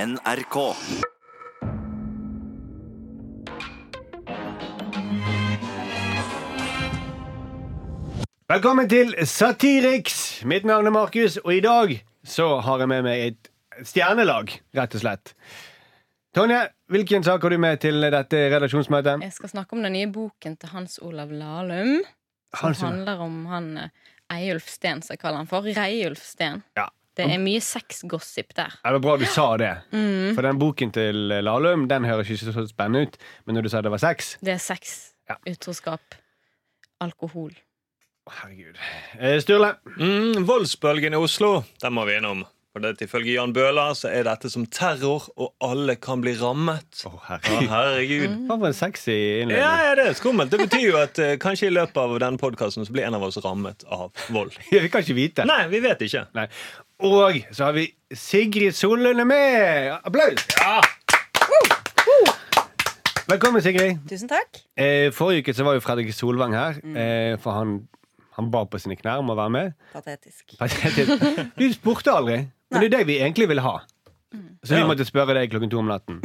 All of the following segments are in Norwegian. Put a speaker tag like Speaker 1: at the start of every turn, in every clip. Speaker 1: NRK.
Speaker 2: Velkommen til Satiriks. Mitt navn er Markus, og i dag så har jeg med meg et stjernelag, rett og slett. Tonje, hvilken sak har du med til dette redaksjonsmøtet?
Speaker 3: Jeg skal snakke om den nye boken til Hans Olav Lahlum. Som
Speaker 2: Hans Olav.
Speaker 3: handler om han eh, Eiulf Steen, som jeg kaller han for. Reiulf Steen.
Speaker 2: Ja.
Speaker 3: Det er mye sexgossip der.
Speaker 2: Ja, Det var bra du sa det. For den boken til Lahlum den høres ikke så spennende ut. Men når du sa det var sex
Speaker 3: Det er sex,
Speaker 2: Ja.
Speaker 3: utroskap, alkohol.
Speaker 2: Å, Herregud. Eh, Sturle.
Speaker 4: Mm, voldsbølgen i Oslo, den må vi innom. For det, ifølge Jan Bøhler så er dette som terror, og alle kan bli rammet.
Speaker 2: Å,
Speaker 4: Å,
Speaker 2: herregud.
Speaker 4: herregud.
Speaker 2: Hva for en sexy
Speaker 4: Ja,
Speaker 2: innledning.
Speaker 4: ja, det er skummelt. Det betyr jo at eh, kanskje i løpet av denne podkasten så blir en av oss rammet av vold.
Speaker 2: Vi kan ikke vite.
Speaker 4: Nei, vi vet ikke.
Speaker 2: Nei. Og så har vi Sigrid Sollund er med! Applaus! Velkommen, Sigrid.
Speaker 5: Tusen takk.
Speaker 2: Eh, forrige uke så var jo Fredrik Solvang her, eh, for han, han ba på sine knær om å være med.
Speaker 5: Patetisk.
Speaker 2: Patetisk. Du spurte aldri, men det er deg vi egentlig vil ha. Så vi
Speaker 4: Ja.
Speaker 2: måtte spørre deg klokken to om natten.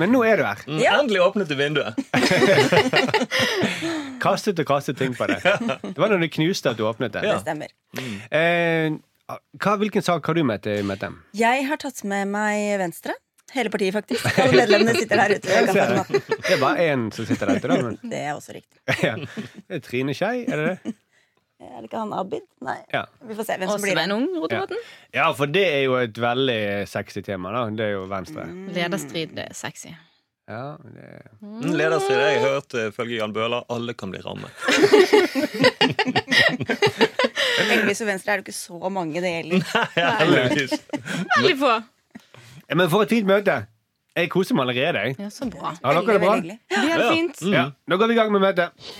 Speaker 2: Men nå er du her.
Speaker 4: Mm,
Speaker 5: Ja.
Speaker 4: Endelig åpnet du vinduet.
Speaker 2: Kastet og kastet ting på deg. Det var når du knuste at du åpnet det.
Speaker 4: Ja.
Speaker 5: Det stemmer.
Speaker 2: Eh, hva, hvilken sak har du med til med dem?
Speaker 5: Jeg har tatt med meg Venstre. Hele partiet, faktisk. Alle medlemmene sitter her ute. ved kaffeautomaten.
Speaker 2: Det er bare én som sitter der ute, da. Men,
Speaker 5: Det er også riktig.
Speaker 2: ja. Det er Trine Skei, er det det?
Speaker 5: Er det ikke han Abid? Nei.
Speaker 2: Ja.
Speaker 5: Vi får se hvem
Speaker 3: Og
Speaker 5: som blir det.
Speaker 3: Svein Ung, Rotevatn.
Speaker 2: ja, for det er jo et veldig sexy tema, da. Det er jo Venstre.
Speaker 3: Lederstrid det er sexy.
Speaker 2: Ja, det...
Speaker 4: Mm, Lederstrid, jeg hørte ifølge Jan Bøhler alle kan bli rammet.
Speaker 5: Heldigvis for Venstre er det ikke så mange det
Speaker 2: Mm.
Speaker 5: gjelder.
Speaker 4: Ja, heldigvis.
Speaker 3: Veldig få!
Speaker 2: Ja, Men for et fint møte! Jeg koser meg allerede. jeg.
Speaker 3: Ja, så bra.
Speaker 2: Har dere det
Speaker 5: Veldig,
Speaker 2: bra?
Speaker 5: veldig hyggelig.
Speaker 3: Det er helt
Speaker 4: Ja.
Speaker 3: fint.
Speaker 2: Ja, Nå går vi i gang med møtet.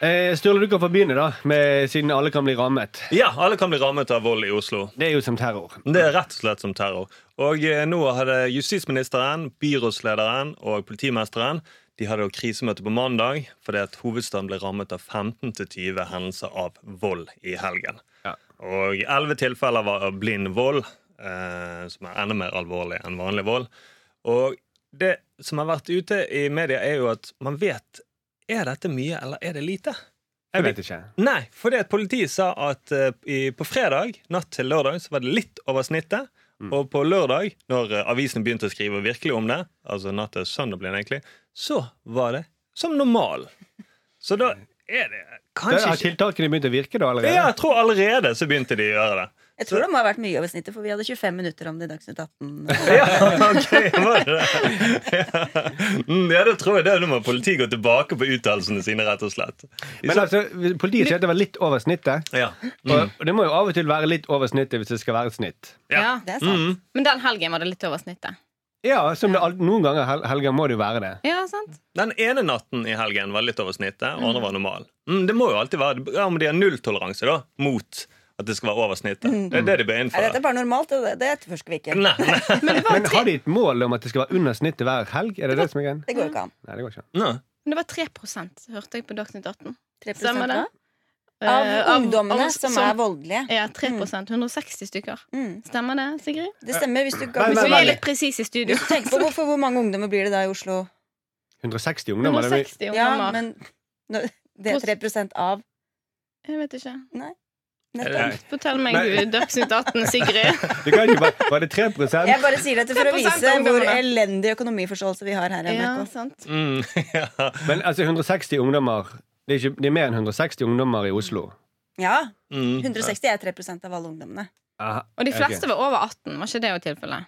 Speaker 2: Eh, Sturle, du kan få begynne, da, med, siden alle kan bli rammet.
Speaker 4: Ja, alle kan bli rammet av vold i Oslo.
Speaker 2: Det er jo som terror.
Speaker 4: Det er rett og slett som terror. Og eh, nå hadde justisministeren, byrådslederen og politimesteren de hadde jo krisemøte på mandag fordi at hovedstaden ble rammet av 15-20 hendelser av vold i helgen.
Speaker 2: Ja.
Speaker 4: Og 11 tilfeller var av blind vold, eh, som er enda mer alvorlig enn vanlig vold. Og det som har vært ute i media, er jo at man vet Er dette mye, eller er det lite?
Speaker 2: Jeg vet ikke.
Speaker 4: Nei, fordi at politiet sa at eh, i, på fredag natt til lørdag så var det litt over snittet. Og på lørdag, når eh, avisen begynte å skrive virkelig om det, altså natt til søndag blir det egentlig, så var det som normal. Så da er det
Speaker 2: Da
Speaker 4: kanskje
Speaker 2: har
Speaker 4: ikke
Speaker 2: tiltakene begynt å virke da allerede?
Speaker 4: Ja, jeg tror allerede så begynte de å gjøre det.
Speaker 5: Jeg tror det må ha vært mye over snittet, for vi hadde 25 minutter om det i Dagsnytt 18.
Speaker 4: Ja, ok, var det det? Ja. Mm, ja, det tror jeg. Det er må politiet gå tilbake på uttalelsene sine, rett og slett. De
Speaker 2: Men
Speaker 4: sa-
Speaker 2: altså, Politiet sier at det var litt over snittet.
Speaker 4: ja.
Speaker 2: Og og det må jo av og til være litt over snittet hvis det skal være et snitt.
Speaker 3: Ja.
Speaker 5: Det er
Speaker 4: Mm.
Speaker 2: Mm.
Speaker 5: sant.
Speaker 3: Men den helgen var det litt over snittet.
Speaker 2: Ja, som det, al- Noen ganger hel helger må det jo være det.
Speaker 3: Ja, sant?
Speaker 4: Den ene natten i helgen var litt over snittet, og andre var normal. Mm, det må jo alltid være, ja, men De har nulltoleranse da, mot at det skal være over snittet.
Speaker 2: Mm.
Speaker 4: Det er det de bør
Speaker 5: Nei, dette
Speaker 4: innføre.
Speaker 5: er bare normalt, og det, det etterforsker vi ikke.
Speaker 4: Nei, nei,
Speaker 3: Men det var,
Speaker 2: Men har
Speaker 3: tre,
Speaker 2: de et mål om at det skal være under snittet hver helg? Er det det som er greien?
Speaker 5: Det går jo ikke an.
Speaker 2: Nei, det går ikke.
Speaker 4: nei.
Speaker 3: men det var 3 hørte jeg på Dagsnytt 18.
Speaker 5: 3%
Speaker 3: Stemmer det?
Speaker 5: Av
Speaker 3: Eh, av-
Speaker 5: ungdommene
Speaker 3: av-
Speaker 5: som er Mm. voldelige.
Speaker 3: Ja, 3 160 stykker.
Speaker 5: Mm.
Speaker 3: Stemmer det, Sigrid?
Speaker 5: Det stemmer. Hvis du,
Speaker 2: Nei, nei,
Speaker 5: hvis
Speaker 3: Så
Speaker 5: du,
Speaker 3: vi
Speaker 2: nei.
Speaker 3: er litt presise i studio.
Speaker 5: hvis du tenker på hvorfor, hvor mange ungdommer blir det da i Oslo?
Speaker 2: 160 ungdommer. det er mye-
Speaker 3: 160
Speaker 5: Ja,
Speaker 3: ungdommer.
Speaker 5: men nå- det er 3 av
Speaker 3: Jeg vet ikke.
Speaker 4: Nei.
Speaker 5: nettopp.
Speaker 3: Fortell meg
Speaker 2: Nei.
Speaker 3: Dagsnytt 18, Sigrid.
Speaker 2: Du kan ikke bare, Var det 3
Speaker 5: Jeg bare sier dette for å
Speaker 3: 3%
Speaker 5: vise hvor
Speaker 3: ungdommene.
Speaker 5: elendig økonomiforståelse vi har her i
Speaker 3: Ja,
Speaker 5: NRK.
Speaker 3: sant.
Speaker 4: Mm, ja.
Speaker 2: Men altså, 160 ungdommer det er, ikke, det er mer enn 160 ungdommer i Oslo.
Speaker 5: Ja,
Speaker 4: Mm.
Speaker 5: 160 er 3 av alle ungdommene.
Speaker 2: Aha,
Speaker 3: Og de
Speaker 2: ok.
Speaker 3: fleste var over 18. Var ikke det jo tilfellet?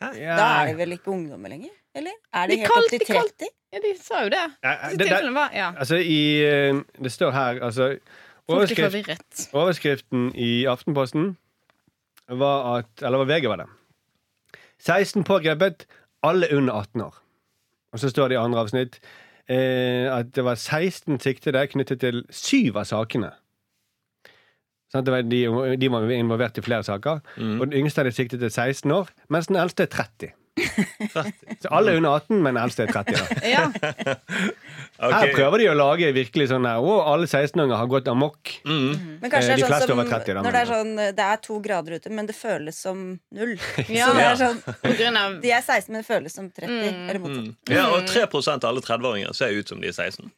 Speaker 2: Ja,
Speaker 5: Da er det vel ikke ungdommer lenger? Eller? Er
Speaker 3: De
Speaker 5: det helt
Speaker 3: kalt-
Speaker 5: opp til
Speaker 3: de kalt-
Speaker 5: 30?
Speaker 3: Ja, de sa jo det.
Speaker 2: ja,
Speaker 3: Så
Speaker 2: Eh, det, det,
Speaker 3: tilfellet var, ja.
Speaker 2: altså, i, eh, det står her altså,
Speaker 3: Folk er
Speaker 2: overskrift,
Speaker 3: forvirret.
Speaker 2: Overskriften i Aftenposten var at Eller var VG, var det. 16 pågrepet, alle under 18 år. Og så står det i andre avsnitt eh, at det var 16 siktede knyttet til syv av sakene. Sånn, at det var
Speaker 4: Mm.
Speaker 2: de, de var involvert i flere saker. Og den yngste av de siktet til 16 år, mens den eldste er 30.
Speaker 4: 30.
Speaker 2: Så alle er under 18, men eldste er 30. Da.
Speaker 3: Ja.
Speaker 2: Her
Speaker 4: Ok.
Speaker 2: prøver de å lage virkelig sånn der, Å, alle 16-åringer har gått amok.
Speaker 4: Mm.
Speaker 5: Men
Speaker 2: Eh,
Speaker 5: kanskje
Speaker 2: de
Speaker 5: det er
Speaker 2: fleste
Speaker 5: sånn som
Speaker 2: over 30 da,
Speaker 5: Når det er
Speaker 2: men-
Speaker 5: sånn Det er to grader ute, men det føles som null.
Speaker 3: Ja.
Speaker 5: Så det er sånn
Speaker 3: På grunn av
Speaker 5: De er 16, men det føles som 30. Eller motsatt.
Speaker 4: Mm. Ja, og 3 av alle 30-åringer ser ut som de er 16.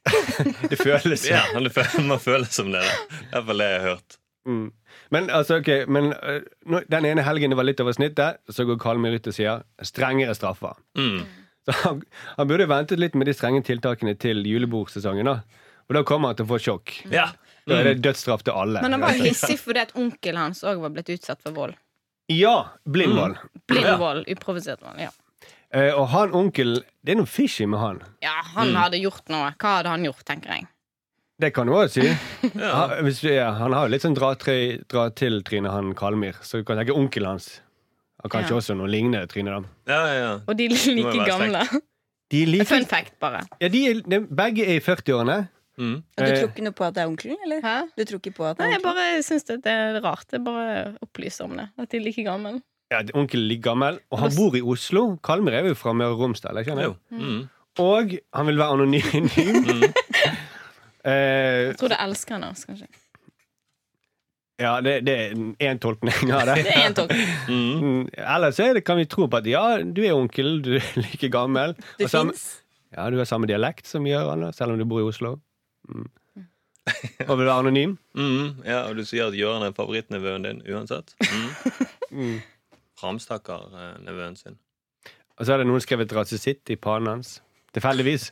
Speaker 2: Det føles
Speaker 4: Ja, men det fø- Man føler som det. da. Det er vel det jeg har hørt.
Speaker 2: Mm. Men altså, ok men, øh, nå- Den ene helgen det var litt over snittet, så går Kalmøy ut og sier strengere straffer.
Speaker 4: Mm.
Speaker 2: Så han, han burde ventet litt med de strenge tiltakene til julebordsesongen. da Og da kommer han til å få sjokk.
Speaker 4: Ja.
Speaker 2: Da er det dødsstraff til alle.
Speaker 3: Men han var jo hissig fordi at onkelen hans òg var blitt utsatt for vold.
Speaker 2: Ja! Blindvoll.
Speaker 4: Mm.
Speaker 3: Blind vold. Uprovosert vold. Ja.
Speaker 2: Eh, og han onkelen Det er noe fishy med han.
Speaker 3: ja, han
Speaker 2: Mm.
Speaker 3: hadde gjort noe. Hva hadde han gjort, tenker jeg.
Speaker 2: Det kan du òg si.
Speaker 4: Mm. Ja.
Speaker 2: Han, hvis, vi- ja, han har jo litt sånn dra-til-tryne, han Kalmyr. Så du kan tenke onkelen hans. Og kanskje
Speaker 3: Ja.
Speaker 2: også noe lignende tryne. da.
Speaker 4: Ja, ja, ja.
Speaker 3: Og de er
Speaker 4: Må jo
Speaker 3: like
Speaker 4: være
Speaker 3: gamle.
Speaker 2: De er like,
Speaker 3: Fun fact, bare.
Speaker 2: ja, de er, de, begge er i 40-årene.
Speaker 4: Mm.
Speaker 5: Du
Speaker 2: Eh,
Speaker 5: tror ikke noe på at det er onkelen? Eller?
Speaker 3: Hæ?
Speaker 5: Du tror ikke på at det
Speaker 3: Nei,
Speaker 5: er
Speaker 3: jeg
Speaker 5: onkelen?
Speaker 3: bare syns det er rart. Jeg bare opplyser om det. At de er like gamle.
Speaker 2: Ja, Onkelen er like gammel, og han
Speaker 3: Hva s-
Speaker 2: bor i Oslo. Kalmer er jo fra Møre og Romsdal. jeg skjønner
Speaker 4: Jo. Mm.
Speaker 2: Og han vil være anonym. Eh,
Speaker 3: Jeg tror det elsker han oss, kanskje.
Speaker 2: ja, det, det er én tolkning av
Speaker 3: Det
Speaker 2: det.
Speaker 3: er en tolkning.
Speaker 4: Mm.
Speaker 2: Mm, Ellers er det, kan vi tro på at ja, du er onkel, du er like gammel.
Speaker 5: Du
Speaker 2: Og samme-
Speaker 5: fins.
Speaker 2: Ja, du har samme dialekt som gjør alle, selv om du bor i Oslo. Mm. Og vil være anonym.
Speaker 4: Mm. ja, og du sier at Gøran er favorittnevøen din uansett. Mm.
Speaker 2: Mm.
Speaker 4: Framstakker eh, nevøen sin.
Speaker 2: Og så hadde noen skrevet rasisitt i panen hans. Tilfeldigvis.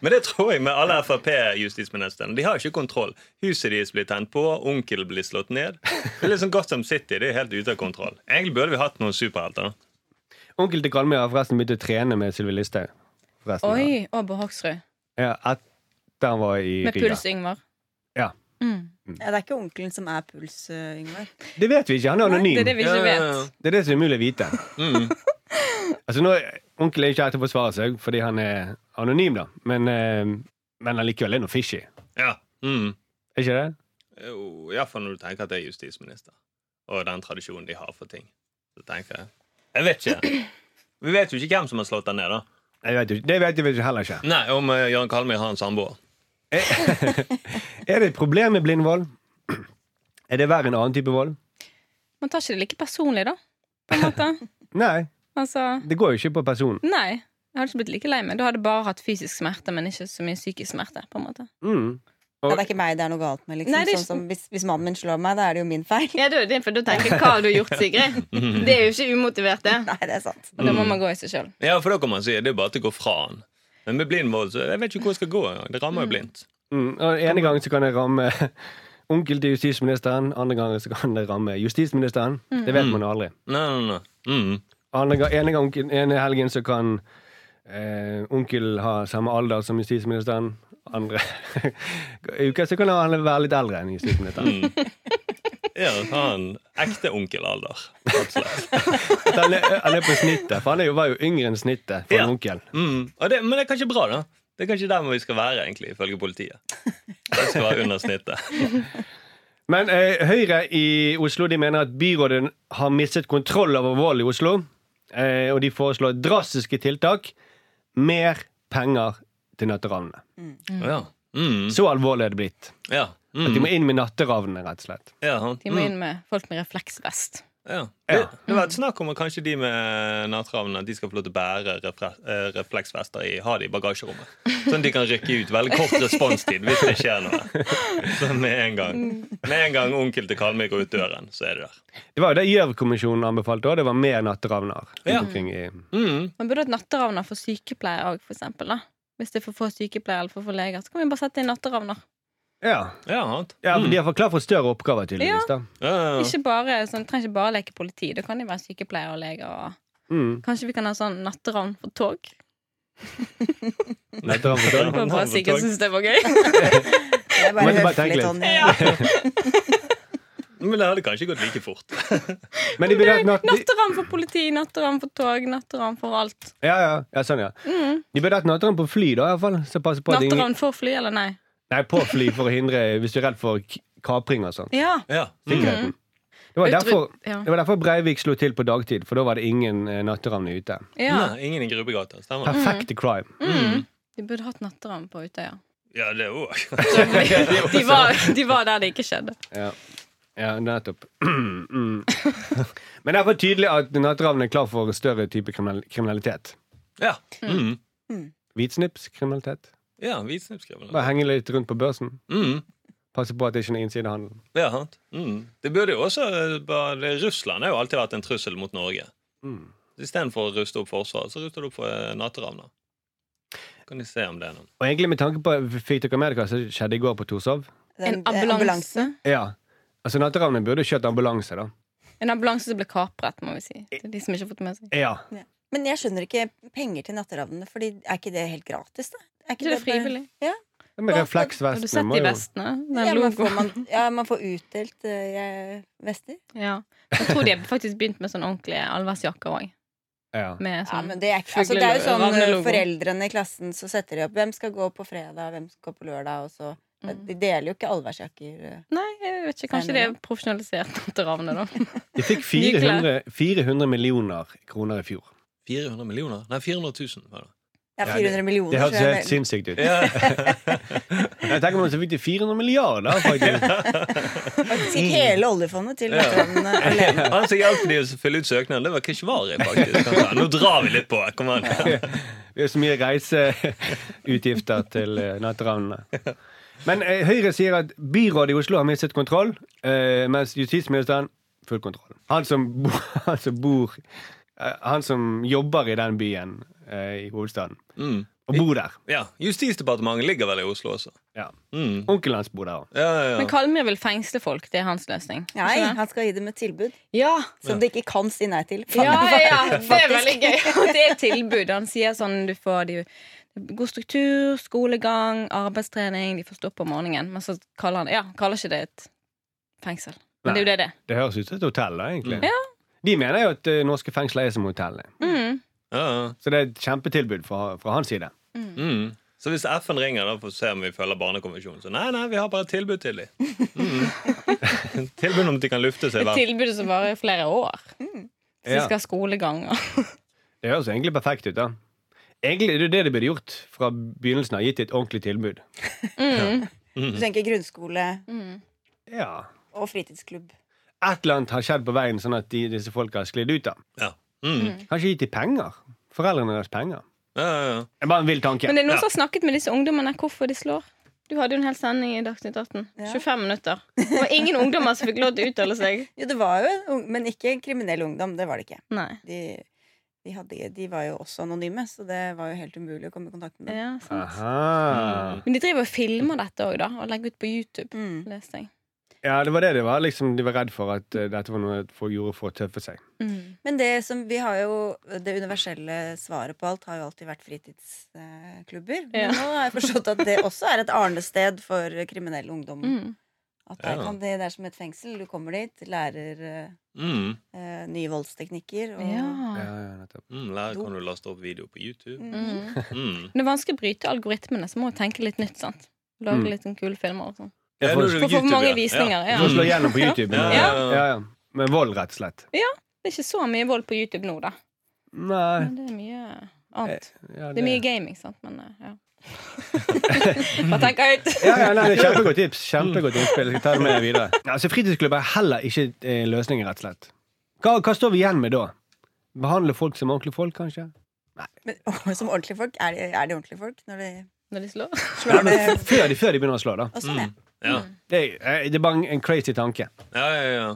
Speaker 4: Men det tror jeg med alle Frp-justisministrene. De har ikke kontroll. Huset deres blir tent på, onkel blir slått ned. Det er litt sånn Gotham City. Det er helt ute av kontroll. Egentlig burde vi hatt noen superhelter. da.
Speaker 2: Onkel til Kalmyr har forresten begynt å trene med Sylvi Listhaug. forresten.
Speaker 3: Oi, Åbo Hoksrud.
Speaker 2: Ja, etter han var i
Speaker 3: Med
Speaker 2: Riga.
Speaker 3: Puls Yngvar.
Speaker 2: Ja.
Speaker 3: Mm.
Speaker 5: Ja, det er ikke onkelen som er puls, eh, Yngvar.
Speaker 2: Det vet vi ikke. Han er
Speaker 3: Nei,
Speaker 2: anonym.
Speaker 3: det er det vi
Speaker 4: Ja,
Speaker 3: ikke
Speaker 4: ja, ja.
Speaker 3: vet.
Speaker 2: Det er det som er umulig å vite.
Speaker 4: Mm.
Speaker 2: Altså nå, Onkel er ikke her til å forsvare seg fordi han er anonym, da. Men, eh, men allikevel er noe fishy.
Speaker 4: Ja. Mm.
Speaker 2: Er ikke det?
Speaker 4: Jo, Iallfall når du tenker at det er justisminister, og den tradisjonen de har for ting. Så tenker jeg Jeg vet ikke. Vi vet jo ikke hvem som har slått den ned, da.
Speaker 2: Jeg vet jo ikke. Det vet jeg vel heller ikke.
Speaker 4: Nei, Om eh, Jørgen Kalmøy har en samboer.
Speaker 2: Er det et problem med blindvold? Er det verre enn annen type vold?
Speaker 3: Man tar ikke det like personlig, da. På en måte.
Speaker 2: Nei,
Speaker 3: Altså
Speaker 2: det går jo ikke på personen.
Speaker 3: Nei. Jeg hadde ikke blitt like lei meg. Da hadde jeg bare hatt fysisk smerte, men ikke så mye psykisk smerte. på en måte
Speaker 2: Mm.
Speaker 5: Nei, det er ikke meg det er noe galt med. Liksom.
Speaker 3: Nei, det er
Speaker 5: sånn som, hvis, hvis mannen min slår meg, da er det jo min feil.
Speaker 3: Ja, det er jo det, for Da tenker jeg hva har du gjort, Sigrid? Det er jo ikke umotivert, det.
Speaker 5: Nei, det er sant.
Speaker 3: Og Da må man gå i seg sjøl.
Speaker 4: Ja, for da kan man si det er bare til å gå fra han. Men med blind vold så jeg vet ikke hvor jeg skal gå. engang. Det rammer jo blindt.
Speaker 2: Mm. Og ene gangen så kan det ramme onkel til justisministeren, andre gangen så kan det ramme justisministeren. Det
Speaker 3: Mm.
Speaker 2: vet man jo aldri.
Speaker 4: Nei, nei, nei. Mm.
Speaker 2: Andre, ga- ene, gang, ene helgen så kan eh, onkel ha samme alder som justisministeren. Andre uker så kan han være litt eldre enn justisministeren.
Speaker 4: Mm. Ja, ha en ekte onkelalder. rett og slett.
Speaker 2: Han er, han er på snittet, for han er jo, var jo yngre enn snittet for
Speaker 4: Ja.
Speaker 2: en onkel.
Speaker 4: Mm. Og det, men det er kanskje bra, da. Det er kanskje der vi skal være, egentlig, ifølge politiet. Det skal være under snittet.
Speaker 2: Men eh, Høyre i Oslo de mener at byrådet har mistet kontroll over vold i Oslo. Eh, og de foreslår drastiske tiltak. Mer penger til natteravnene.
Speaker 4: Ja. Mm.
Speaker 2: Så alvorlig er det blitt.
Speaker 4: Ja.
Speaker 2: At de
Speaker 4: Mm.
Speaker 2: må inn med natteravnene, rett og slett.
Speaker 4: ja.
Speaker 3: De må
Speaker 4: mm.
Speaker 3: inn med folk med refleksvest.
Speaker 4: Ja.
Speaker 2: Ja.
Speaker 4: Det, det har vært snakk om at kanskje de med natteravnene De skal få lov til å bære refre- eh, refleksvester i, ha det i bagasjerommet. Sånn at de kan rykke ut. Veldig kort responstid hvis det skjer noe. Så med en gang Med en gang onkel til Kalmøy går ut døren, så er det der.
Speaker 2: Det var jo det Gjørv-kommisjonen anbefalte òg. Det var mer natteravner.
Speaker 4: Ja.
Speaker 2: rundt omkring i
Speaker 4: Mm.
Speaker 3: Man burde hatt natteravner for sykepleiere òg, for eksempel. Da. Hvis det er for få sykepleiere eller for få leger, så kan vi bare sette inn natteravner.
Speaker 2: Ja,
Speaker 4: Ja, sant.
Speaker 2: ja
Speaker 4: Mm.
Speaker 2: De har forklart for større oppgaver, tydeligvis. da
Speaker 4: Ja, ja, ja.
Speaker 3: Ikke bare, sånn, trenger ikke bare leke politi. Da kan de være sykepleiere og leger. Og...
Speaker 2: mm.
Speaker 3: Kanskje vi kan ha sånn natteravn for tog?
Speaker 2: Natteravn for
Speaker 3: Det
Speaker 2: døren.
Speaker 3: var bare
Speaker 4: Natteravn for
Speaker 3: Sigurd
Speaker 4: tog.
Speaker 3: synes det var gøy.
Speaker 2: Må
Speaker 5: Jeg bare
Speaker 2: ikke bare
Speaker 5: høflig
Speaker 2: tenke litt.
Speaker 5: sånn.
Speaker 3: Ja.
Speaker 4: Men det hadde kanskje gått like fort.
Speaker 2: Men de ville hatt natt... de-
Speaker 3: Natteravn for politi, natteravn for tog, natteravn for alt.
Speaker 2: Ja, ja, ja, sånn, ja.
Speaker 4: Mm.
Speaker 2: De burde hatt natteravn på fly, da, i hvert fall. Så passe på at ingen...
Speaker 3: Natteravn for fly, eller nei?
Speaker 2: Nei, på fly for å hindre hvis du er redd for k- kapring og sånn.
Speaker 3: Ja.
Speaker 4: Ja. Mm.
Speaker 2: Sikkerheten. Det var derfor,
Speaker 3: Ja.
Speaker 2: det var derfor Breivik slo til på dagtid, for da var det ingen eh, natteravner ute.
Speaker 3: ja.
Speaker 4: Nei, ingen i Grubbegata. Stemmer.
Speaker 2: Perfekte crime.
Speaker 3: Mm. De burde hatt natteravn på Utøya.
Speaker 4: Ja, det òg.
Speaker 3: De var, de var der det ikke skjedde.
Speaker 2: Ja, ja nettopp. Mm. Men det er for tydelig at natteravnen er klar for større type kriminal- kriminalitet.
Speaker 4: Ja. Mm.
Speaker 2: Hvitsnipskriminalitet.
Speaker 4: Ja, hvitsnipskriminalitet.
Speaker 2: Bare henge litt rundt på børsen.
Speaker 4: Mm.
Speaker 2: Passe på at det ikke er noen innsidehandel.
Speaker 4: Ja, sant. Mm. Det burde jo også eh, bare, det- Russland har jo alltid vært en trussel mot Norge.
Speaker 2: Mm.
Speaker 4: Istedenfor å ruste opp Forsvaret, så ruster du opp for eh, natteravner. Kan de se om det er noen
Speaker 2: Og egentlig med tanke på Fikk dere med dere hva som skjedde i går på Torshov?
Speaker 3: En
Speaker 5: Den- eh,
Speaker 3: ambulanse.
Speaker 2: Ja. Altså, natteravnen burde kjørt ambulanse, da.
Speaker 3: En ambulanse som ble kapret, må vi si. Til de som ikke har fått det med seg.
Speaker 2: Ja.
Speaker 5: Men jeg skjønner ikke penger til natteravnene, Fordi er ikke det helt gratis, da? Er
Speaker 3: Ikke det frivillig?
Speaker 2: Med
Speaker 5: Hva-
Speaker 3: Har du
Speaker 2: refleksvestene
Speaker 3: sett
Speaker 2: må
Speaker 3: de
Speaker 2: jo
Speaker 3: vestene?
Speaker 5: Ja
Speaker 3: Den
Speaker 5: man, får,
Speaker 3: logoen?
Speaker 5: man, ja, man får utdelt eh, vester.
Speaker 3: Ja. Jeg tror de har faktisk begynt med sånn ordentlige allværsjakker òg.
Speaker 2: ja.
Speaker 3: Med
Speaker 5: Ja,
Speaker 3: sånn
Speaker 5: men det, er, ikke- altså, det er jo sånn
Speaker 3: Fugle-
Speaker 5: eh,
Speaker 3: ravnelogo.
Speaker 5: foreldrene i klassen så setter de opp hvem skal gå på fredag, hvem skal gå på lørdag, og så
Speaker 3: Mm.
Speaker 5: De deler jo ikke allværsjakker. eh.
Speaker 3: Nei, jeg vet ikke. Kanskje
Speaker 5: Nei,
Speaker 3: det
Speaker 5: nei,
Speaker 3: er profesjonalisert natteravner, da.
Speaker 2: De fikk 400, 400 millioner kroner i fjor.
Speaker 4: 400 millioner? Nei, 400 000. var det.
Speaker 5: Ja,
Speaker 2: Ja,
Speaker 5: 400 millioner.
Speaker 2: Det
Speaker 5: så
Speaker 2: hørtes
Speaker 5: er
Speaker 2: helt
Speaker 5: det-
Speaker 2: sinnssykt ut.
Speaker 4: Ja.
Speaker 2: Jeg tenker meg så fikk de 400 milliarder, faktisk.
Speaker 5: Sikkert hele oljefondet til
Speaker 4: Ja.
Speaker 5: natteravnene alene.
Speaker 4: Han som altså, hjalp de å fylle ut søknaden, det var Keshvari, faktisk. Han sa, Nå drar vi litt på. Kom an.
Speaker 2: Det er så mye reiseutgifter til eh, natteravnene. Men eh, Høyre sier at byrådet i Oslo har mistet kontroll, eh, mens justisministeren full kontroll. Han som, bo, han som bor eh, Han som jobber i den byen eh, i hovedstaden,
Speaker 4: Mm.
Speaker 2: og bor der.
Speaker 4: Ja, Justisdepartementet ligger vel i Oslo også.
Speaker 2: Ja.
Speaker 4: Mm.
Speaker 2: Onkelen hans bor der òg.
Speaker 4: Ja, ja,
Speaker 3: Men
Speaker 4: ja.
Speaker 3: Kalmyr vil fengsle folk. Det er hans løsning. Ikke
Speaker 5: Nei,
Speaker 3: det?
Speaker 5: han skal gi dem et tilbud
Speaker 3: Ja.
Speaker 5: som de ikke kan si nei til.
Speaker 3: Ja, ja, ja, det er
Speaker 5: Faktisk.
Speaker 3: veldig gøy. Og det er et tilbud. Han sier sånn du får de, god struktur, skolegang, arbeidstrening, de får stå opp om morgenen. Men så kaller han ja, han kaller ikke det et fengsel. Men det er jo det det er.
Speaker 2: Det høres ut som et hotell, da, egentlig.
Speaker 4: Mm.
Speaker 3: Ja.
Speaker 2: De mener jo at eh, norske fengsler er som hotellene.
Speaker 3: Mm.
Speaker 4: ja, ja.
Speaker 2: Så det er et kjempetilbud fra, fra hans side.
Speaker 4: Mm. Så hvis FN ringer da for å se om vi følger Barnekonvensjonen, så nei, nei, vi har bare et tilbud til dem. Mm. tilbud om at de kan lufte seg.
Speaker 3: Et
Speaker 4: hver.
Speaker 3: tilbud som varer i flere år. Så de
Speaker 2: Ja.
Speaker 3: skal ha skolegang. og-
Speaker 2: Det høres egentlig perfekt ut, da. Egentlig er det jo det de burde gjort fra begynnelsen av. Gitt et ordentlig tilbud.
Speaker 3: Mm.
Speaker 5: Du tenker grunnskole
Speaker 3: Mm.
Speaker 2: Ja.
Speaker 5: og fritidsklubb.
Speaker 2: Et eller annet har skjedd på veien, sånn at de, disse folka har sklidd ut. da.
Speaker 4: Ja. Mm.
Speaker 2: Kanskje gitt de penger. Foreldrene deres penger.
Speaker 4: Ja, ja, ja.
Speaker 2: Det er bare en vill tanke.
Speaker 3: Men det er noen
Speaker 4: Ja.
Speaker 3: som har snakket med disse ungdommene hvorfor de slår. Du hadde jo en hel sending i Dagsnytt 18.
Speaker 5: Ja.
Speaker 3: 25 minutter. Det var ingen ungdommer som fikk lov til å uttale seg.
Speaker 5: Jo, det var jo en ung, men ikke en kriminell ungdom. Det var det ikke.
Speaker 3: Nei.
Speaker 5: De, de, hadde, de var jo også anonyme, så det var jo helt umulig å komme i kontakt med dem.
Speaker 3: Ja, sant.
Speaker 2: Aha.
Speaker 3: Men de driver og filmer dette òg, da. Og legger ut på YouTube.
Speaker 5: Mm.
Speaker 3: Leste jeg.
Speaker 2: Ja, det var det det var. Liksom, de var redd for at eh, dette var noe folk gjorde for å tøffe seg.
Speaker 3: Mm.
Speaker 5: Men det som vi har jo Det universelle svaret på alt har jo alltid vært fritidsklubber.
Speaker 3: Ja.
Speaker 5: Men nå har jeg forstått at det også er et arnested for kriminell ungdom.
Speaker 3: Mm.
Speaker 5: At der
Speaker 4: Ja.
Speaker 5: kan det, det er som et fengsel. Du kommer dit, lærer
Speaker 4: Mm.
Speaker 5: eh, nye voldsteknikker. Og,
Speaker 2: Ja,
Speaker 3: Ja.
Speaker 2: ja, nettopp.
Speaker 4: Mm, der kan du laste opp video på YouTube.
Speaker 3: Mm.
Speaker 5: Mm.
Speaker 4: Mm.
Speaker 3: Men det er vanskelig å bryte algoritmene, så må du tenke litt nytt. sant? Lage
Speaker 2: Mm.
Speaker 3: litt sånn kule filmer og sånn.
Speaker 4: Ja, nå er det
Speaker 3: For å få
Speaker 4: YouTube,
Speaker 3: mange
Speaker 4: ja.
Speaker 3: visninger.
Speaker 4: Ja.
Speaker 3: Ja.
Speaker 2: For å slå igjennom på YouTube.
Speaker 4: Ja,
Speaker 2: men-
Speaker 4: ja, ja.
Speaker 2: Ja, ja. Med vold, rett og slett.
Speaker 3: Det er ikke så mye vold på YouTube nå, da.
Speaker 2: Nei. Eh,
Speaker 3: Men det er mye annet.
Speaker 2: Ja,
Speaker 3: Det er mye gaming, sant. Men eh, ja. Bare tenk høyt!
Speaker 2: Ja, ja, nei, det er Kjempegodt tips. Kjempegodt innspill. Jeg skal ta det med videre. Ja, Altså, Fritidsklubb er heller ikke eh, løsningen, rett og slett. Hva, hva står vi igjen med da? Behandle folk som ordentlige folk, kanskje?
Speaker 5: Men, og som ordentlige folk? Er de, er de ordentlige folk når de
Speaker 3: Når de slår.
Speaker 5: slår ned?
Speaker 2: Før de, før de begynner å slå, da.
Speaker 5: Og sånn, ja.
Speaker 4: Ja.
Speaker 2: Det, er- eh, det er bare en- en crazy tanke.
Speaker 4: Ja, ja, ja.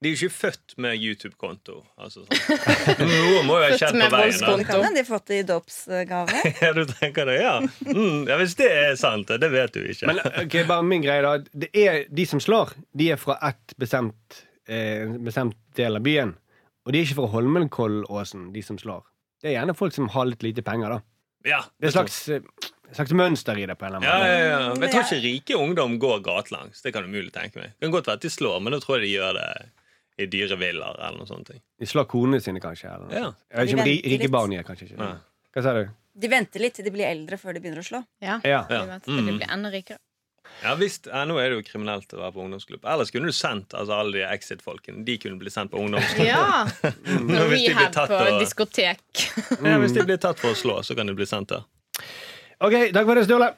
Speaker 4: De er jo ikke født med YouTube-konto. Altså, sånn. Noe må jo ha
Speaker 3: Født
Speaker 4: skjedd på
Speaker 3: med
Speaker 4: veien.
Speaker 5: Det
Speaker 4: da.
Speaker 3: voldskonto.
Speaker 5: kan hende de har fått det i dåpsgave.
Speaker 4: Ja, du tenker det, ja. Mm, ja. Hvis det er sant, det vet du ikke.
Speaker 2: Men eh, ok, bare min greie, da. Det er, de som slår, de er fra ett bestemt, eh, en bestemt del av byen. Og de er ikke fra Holmenkollåsen, de som slår. Det er gjerne folk som har litt lite penger, da.
Speaker 4: ja,
Speaker 2: Det er et slags, eh, slags mønster i det, på en eller
Speaker 4: Ja,
Speaker 2: annen måte.
Speaker 4: ja, ja. Men Jeg tror ikke rike ungdom går gatelangs. Det kan du mulig tenke meg. Det kan godt være at de slår, men da tror jeg de gjør det i dyre villaer eller noe sånt.
Speaker 2: De slår konene sine, kanskje. Eller noe.
Speaker 4: Ja.
Speaker 2: Jeg vet ikke om
Speaker 5: De
Speaker 2: ri,
Speaker 5: venter
Speaker 2: rike
Speaker 5: litt.
Speaker 2: barn gjør kanskje ikke det.
Speaker 4: Nei.
Speaker 2: Hva sa du?
Speaker 5: De venter litt til de blir eldre før de begynner å slå.
Speaker 3: Ja.
Speaker 2: Ja.
Speaker 4: Ja.
Speaker 3: De vet at de
Speaker 4: Mm.
Speaker 3: blir enda rikere.
Speaker 4: Ja, visst, ja, Nå er det jo kriminelt å være på ungdomsklubb. Ellers kunne du sendt altså, alle de Exit-folkene. De kunne bli sendt på ungdomsklubb.
Speaker 3: Ja! Når
Speaker 4: Hvis
Speaker 3: vi
Speaker 4: de blir
Speaker 3: her
Speaker 4: tatt
Speaker 3: på
Speaker 4: og-
Speaker 3: diskotek.
Speaker 4: Ja, hvis de blir tatt for å slå, så kan de bli sendt der.
Speaker 2: OK, takk for det, Sturle.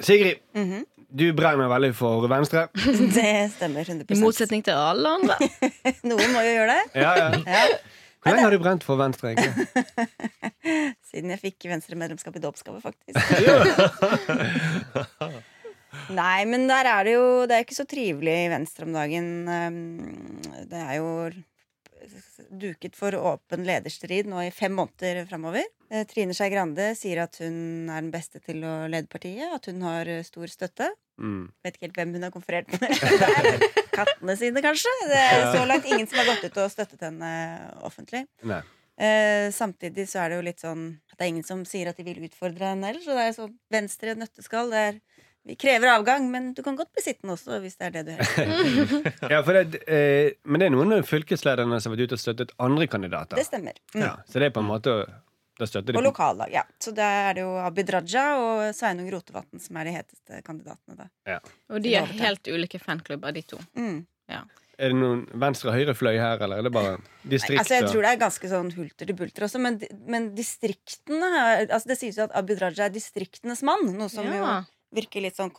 Speaker 2: Sigrid,
Speaker 5: Mhm.
Speaker 2: du brenner veldig for Venstre.
Speaker 5: Det stemmer 100
Speaker 3: I motsetning til alle andre.
Speaker 5: Noen må jo gjøre det.
Speaker 2: Ja, ja.
Speaker 5: Ja.
Speaker 2: Hvor lenge har du brent for Venstre, egentlig?
Speaker 5: Siden jeg fikk Venstre-medlemskap i dåpsgave, faktisk. Nei, men der er det jo Det er ikke så trivelig i Venstre om dagen. Um, Det er jo duket for åpen lederstrid nå i fem måneder framover. Eh, Trine Skei Grande sier at hun er den beste til å lede partiet, at hun har eh, stor støtte.
Speaker 2: Mm.
Speaker 5: Vet ikke helt hvem hun har konferert med. Der. Kattene sine, kanskje. Det er så langt ingen som har gått ut og støttet henne offentlig.
Speaker 2: Nei.
Speaker 5: Eh, samtidig så er det jo litt sånn at det er ingen som sier at de vil utfordre henne heller. Så det er sånn venstre nøtteskall. Det er, vi krever avgang, men du kan godt bli sittende også hvis det er det du helst vil.
Speaker 2: Ja, for det, eh, men det er noen av fylkeslederne som har vært ute og støttet andre kandidater.
Speaker 5: Det stemmer. Mm.
Speaker 2: Ja, så det er på en måte Da støtter de
Speaker 5: Og lokallag, ja. Så da er det jo Abid Raja og Sveinung Rotevatn som er de heteste kandidatene, da.
Speaker 3: Og de er helt ulike fanklubber, de to.
Speaker 5: Mm.
Speaker 2: Er det noen venstre-høyre-fløy her, eller er det bare distrikt?
Speaker 5: Altså, jeg
Speaker 2: og-
Speaker 5: tror det er ganske sånn hulter til bulter også, men, men distriktene er- altså, Det sies jo at Abid Raja er distriktenes mann, noe som jo
Speaker 3: Ja.
Speaker 5: virker litt sånn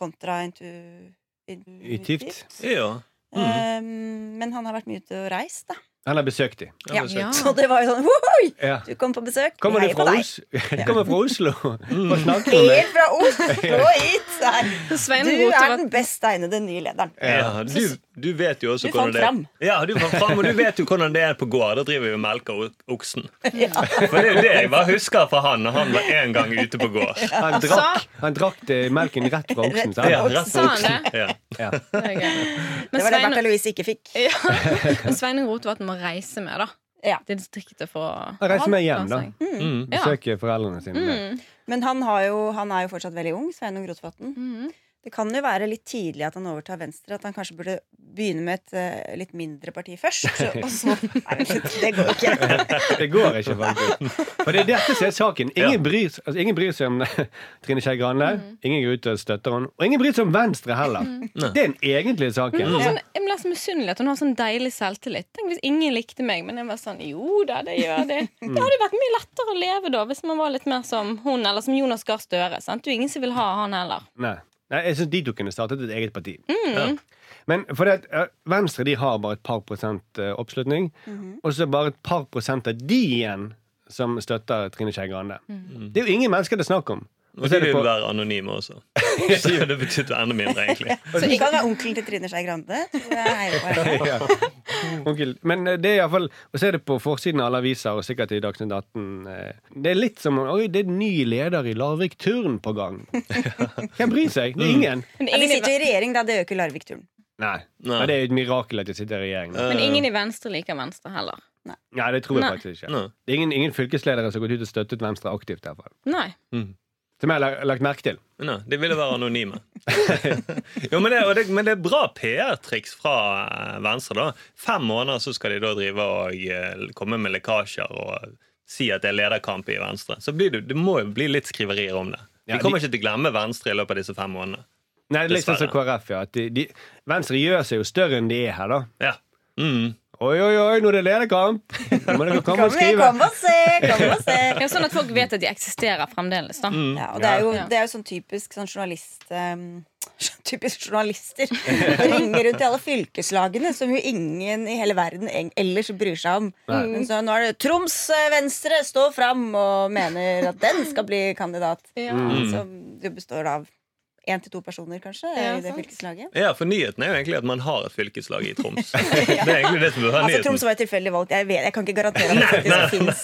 Speaker 5: kontraintuitivt.
Speaker 2: Intuitivt.
Speaker 4: Ja.
Speaker 2: Mm.
Speaker 5: Um, men han har vært mye ute og reist, da.
Speaker 2: Han har besøkt de.
Speaker 4: Ja, men
Speaker 3: Ja.
Speaker 4: så-
Speaker 5: Så det var jo sånn «Hohoi!
Speaker 2: Ja.
Speaker 5: Du kom på besøk,
Speaker 2: Kommer du
Speaker 5: heier
Speaker 2: fra,
Speaker 5: på deg.
Speaker 2: Os Kommer fra Oslo? Hva snakker du om det?
Speaker 5: Helt fra Oslo og hit! Nei.
Speaker 3: Svein
Speaker 5: Du er
Speaker 3: Rotevatn
Speaker 5: den best egnede nye lederen.
Speaker 4: Ja, du, du vet jo også
Speaker 5: Du
Speaker 4: hvordan
Speaker 5: fant
Speaker 4: det
Speaker 5: fram.
Speaker 4: Ja, du fant fram, og du vet jo hvordan det er på gård. Da driver vi og melker o- oksen. For det er jo det jeg bare husker fra han når han var en gang ute på gård.
Speaker 2: Han
Speaker 3: Altså-
Speaker 2: drakk, han drakk det, melken rett fra oksen. sant?
Speaker 4: Ja, rett
Speaker 3: Sa
Speaker 4: fra
Speaker 3: han
Speaker 4: oksen. Ja.
Speaker 2: Ja.
Speaker 3: Det er gøy. Men
Speaker 5: Det var det
Speaker 3: Svein,
Speaker 5: Bertha Louise ikke fikk.
Speaker 3: ja. Sveinung Rotevatn må reise med, da.
Speaker 5: Ja.
Speaker 3: Til distriktet for å
Speaker 2: Han reiser med hjem, da.
Speaker 3: Ja.
Speaker 4: Mm.
Speaker 3: Ja.
Speaker 2: Besøker foreldrene sine. der.
Speaker 5: Men han, har jo, han er jo fortsatt veldig ung, Sveinung Rotevatn.
Speaker 3: Mm.
Speaker 5: Det kan jo være litt tidlig at han overtar Venstre. At han kanskje burde begynne med et eh, litt mindre parti først. Og så, nei, det går jo ikke.
Speaker 2: Det går ikke, faktisk. For det er dette som er saken. Ingen bryr, s- altså, ingen bryr seg om Trine Skei Grande. Ingen går ut og støtter henne. Og ingen bryr seg om Venstre heller. Det er den egentlige
Speaker 3: Men
Speaker 2: saken.
Speaker 3: Sånn, jeg ble så misunnelig at hun har sånn deilig selvtillit. Tenk hvis ingen likte meg, men jeg var sånn Jo da, det gjør de.
Speaker 2: Mm.
Speaker 3: Det hadde jo vært mye lettere å leve da hvis man var litt mer som hun, eller som Jonas Gahr Støre. Sant? Du er ingen som vil ha han heller.
Speaker 2: Nei. Nei, jeg syns de to kunne startet et eget parti. Men for det, at, eh, Venstre de har bare et par prosent eh, oppslutning. Og så bare et par prosent av de igjen som støtter Trine Skei Grande. Det er jo ingen mennesker det er snakk om.
Speaker 4: Og Mm. de vil være anonyme også. Så det betydde enda mindre, egentlig.
Speaker 5: Så det kan være onkelen til Trine Skei Grande. tror jeg heier på henne.
Speaker 2: ja. Onkel. Men eh, det er iallfall Og så er det på forsiden av alle aviser, og sikkert i Dagsnytt 18. eh, Det er litt som Oi, det er ny leder i Larvik Turn på gang. Hvem bryr seg?
Speaker 4: Mm.
Speaker 2: Det er ingen.
Speaker 3: Men
Speaker 5: Ja, de
Speaker 3: ingen, i,
Speaker 5: sitter jo i regjering, da. Det gjør ikke Larvik-turen.
Speaker 2: Nei.
Speaker 4: Nei.
Speaker 2: Men det er jo et mirakel at de sitter i regjering.
Speaker 3: men ingen i Venstre liker Venstre heller.
Speaker 2: Nei, det tror jeg
Speaker 3: Nei.
Speaker 2: faktisk ikke.
Speaker 4: Nei.
Speaker 2: Det er ingen, ingen fylkesledere som har gått ut og støttet Venstre aktivt. i hvert fall.
Speaker 3: Nei.
Speaker 2: Som jeg har la- lagt merke til.
Speaker 4: Nei, de ville være anonyme. jo, men, det, og det, men det er bra PR-triks fra eh, Venstre. da Fem måneder så skal de da drive og eh, komme med lekkasjer og si at det er lederkamp i Venstre. Så blir det, det må jo bli litt skriverier om det.
Speaker 2: Ja,
Speaker 4: Vi kommer ikke til å glemme Venstre i løpet av disse fem månedene.
Speaker 2: Nei, det er litt sånn som KrF, ja. At de, de, Venstre gjør seg jo større enn de er her, da.
Speaker 4: Ja. Mm.
Speaker 2: Oi, oi, oi, nå er det lederkamp! Nå må dere komme
Speaker 5: Kom,
Speaker 2: og
Speaker 5: igjen,
Speaker 2: skrive.
Speaker 5: kom og se! Kom og se!
Speaker 3: Ja, sånn at folk vet at de eksisterer fremdeles, da.
Speaker 2: Mm.
Speaker 4: Mm.
Speaker 5: Ja, og det er jo,
Speaker 3: Ja.
Speaker 5: det er jo sånn typisk sånn journalist ehm, Typisk journalister. De ringer rundt i alle fylkeslagene, som jo ingen i hele verden eng- ellers bryr seg om. Men så nå er det Troms eh, Venstre står fram og mener at den skal bli kandidat.
Speaker 3: Ja.
Speaker 2: Mm.
Speaker 4: Mm.
Speaker 5: Som jo består av én til to personer, kanskje,
Speaker 3: Ja,
Speaker 5: i det
Speaker 3: sant.
Speaker 5: fylkeslaget.
Speaker 4: ja, for nyheten er jo egentlig at man har et fylkeslag i Troms. Det er egentlig det som bør være
Speaker 5: Altså,
Speaker 4: nyheten.
Speaker 5: Troms var jo tilfeldig valgt. Jeg, vet, jeg kan ikke garantere at det faktisk fins.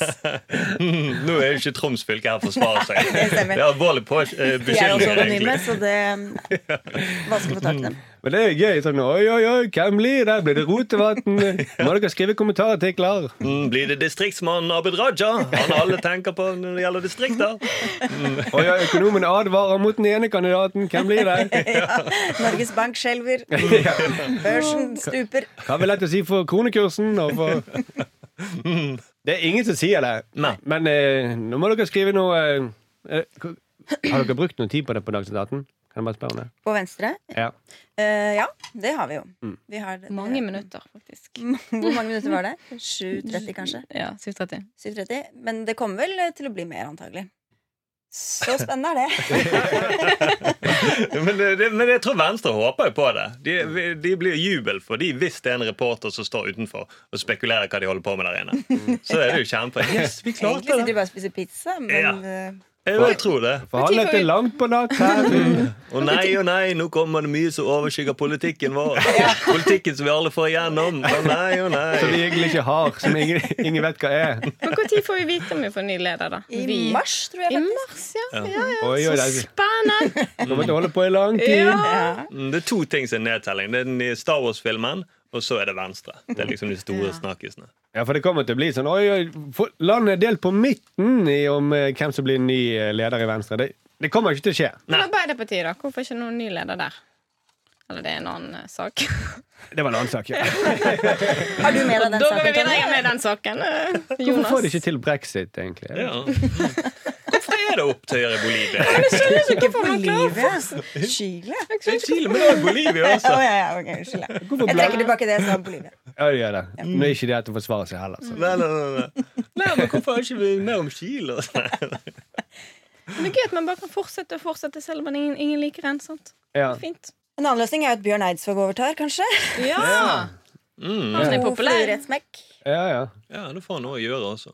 Speaker 4: Mm, Nå er jo ikke Troms fylke her for å forsvare seg.
Speaker 5: Det stemmer.
Speaker 4: Det er alvorlig på, eh,
Speaker 5: De er også
Speaker 4: beskyldninger,
Speaker 5: anonyme,
Speaker 4: egentlig.
Speaker 5: så det er vanskelig å få tak i dem.
Speaker 2: Men det er jo gøy. sånn, Oi, oi, oi, hvem blir det? Blir det Rotevatn? Må dere skrive kommentarartikler?
Speaker 4: Mm, Blir det distriktsmannen Abid Raja? Han alle tenker på når det gjelder distrikter.
Speaker 2: Oi, oi, økonomene advarer mot den ene kandidaten. Hvem blir det?
Speaker 5: Ja. Norges Bank skjelver. Børsen stuper.
Speaker 2: Hva vil dette si for kronekursen? Og for det er ingen som sier det.
Speaker 4: Nei.
Speaker 2: Men eh, nå må dere skrive noe eh, eh, Har dere brukt noe tid på det på Dagsnytt 18? Kan jeg bare spørre om det?
Speaker 5: På venstre?
Speaker 2: Ja.
Speaker 5: Eh, ja, det har vi jo.
Speaker 2: Mm.
Speaker 5: Vi har det-
Speaker 3: Mange minutter, faktisk.
Speaker 5: Hvor mange minutter var det? 7.30, kanskje?
Speaker 3: Ja, 7.30.
Speaker 5: 7.30. Men det kommer vel eh, til å bli mer, antagelig. Så spennende er det.
Speaker 4: men, det, det- men jeg tror Venstre håper jo på det. De, vi- de blir jubel for de hvis det er en reporter som står utenfor og spekulerer hva de holder på med der inne. Så er det jo kjempe. Yes, vi
Speaker 5: Egentlig
Speaker 4: klarte
Speaker 5: sitter de
Speaker 4: det!
Speaker 5: bare og spiser pizza, men
Speaker 4: Ja.
Speaker 5: eh,
Speaker 4: Jeg vil tro det.
Speaker 2: For han lette langt på natt her.
Speaker 4: Og nei og nei, nå kommer det mye som overskygger politikken vår. Politikken som vi alle får igjennom. Å nei og
Speaker 2: Som vi
Speaker 4: nei.
Speaker 2: egentlig ikke har, som ingen, ingen vet hva er.
Speaker 3: Men når får vi vite om vi får ny leder, da?
Speaker 5: i
Speaker 3: vi.
Speaker 5: mars, tror jeg.
Speaker 3: I
Speaker 5: faktisk.
Speaker 3: mars, ja.
Speaker 4: Ja.
Speaker 3: ja, ja.
Speaker 2: Oi, oi,
Speaker 3: Så
Speaker 2: det
Speaker 3: spennende!
Speaker 2: kommer til å holde på i lang tid.
Speaker 3: Ja.
Speaker 5: Ja.
Speaker 4: Mm, Det er to ting som er nedtelling. Det er den i Star Wars-filmen, og så er det Venstre. Det er liksom de store snakkisene.
Speaker 2: Ja, for det kommer til å bli sånn Oi, oi, for- landet er delt på midten i om eh, hvem som blir ny eh, leder i Venstre. Det, det kommer ikke til å skje.
Speaker 3: Men Arbeiderpartiet, da? Hvorfor ikke noen ny leder der? Eller det er en annen eh, sak.
Speaker 2: Det var en annen sak. Ja.
Speaker 5: Har du med deg
Speaker 3: Da
Speaker 5: den
Speaker 3: går vi
Speaker 5: saken,
Speaker 3: videre
Speaker 5: Tonje?
Speaker 3: med den saken. eh,
Speaker 2: Hvorfor
Speaker 3: Jonas.
Speaker 2: får de ikke til brexit, egentlig?
Speaker 4: Ja. Hvorfor er det opptøyer i Bolivia?
Speaker 3: skjønner ikke hvorfor man klarer
Speaker 5: Bolivia? Chile?
Speaker 4: Det er Chile, men det er Bolivia
Speaker 5: Å,
Speaker 4: også.
Speaker 5: ja, ja, ok, unnskyld. Jeg
Speaker 2: Hvorfor
Speaker 5: Jeg
Speaker 2: bla-
Speaker 5: trekker tilbake det jeg sa om Bolivia.
Speaker 2: Ja, de gjør det. Nå er ikke det at de forsvarer seg heller. Så.
Speaker 4: Nei, nei, nei, nei. nei, men hvorfor er ikke vi mer om Chile? sånn?
Speaker 3: Men Det er gøy at man bare kan fortsette og fortsette selv om man ingen, ingen liker en. Sant?
Speaker 2: Ja.
Speaker 3: Fint.
Speaker 5: En annen løsning er jo at Bjørn Eidsvåg overtar, kanskje.
Speaker 3: Ja!
Speaker 4: Mm.
Speaker 3: Han er
Speaker 5: To fluer i
Speaker 3: populær.
Speaker 5: et smekk.
Speaker 2: Ja, ja.
Speaker 4: Ja, det får han noe å gjøre også.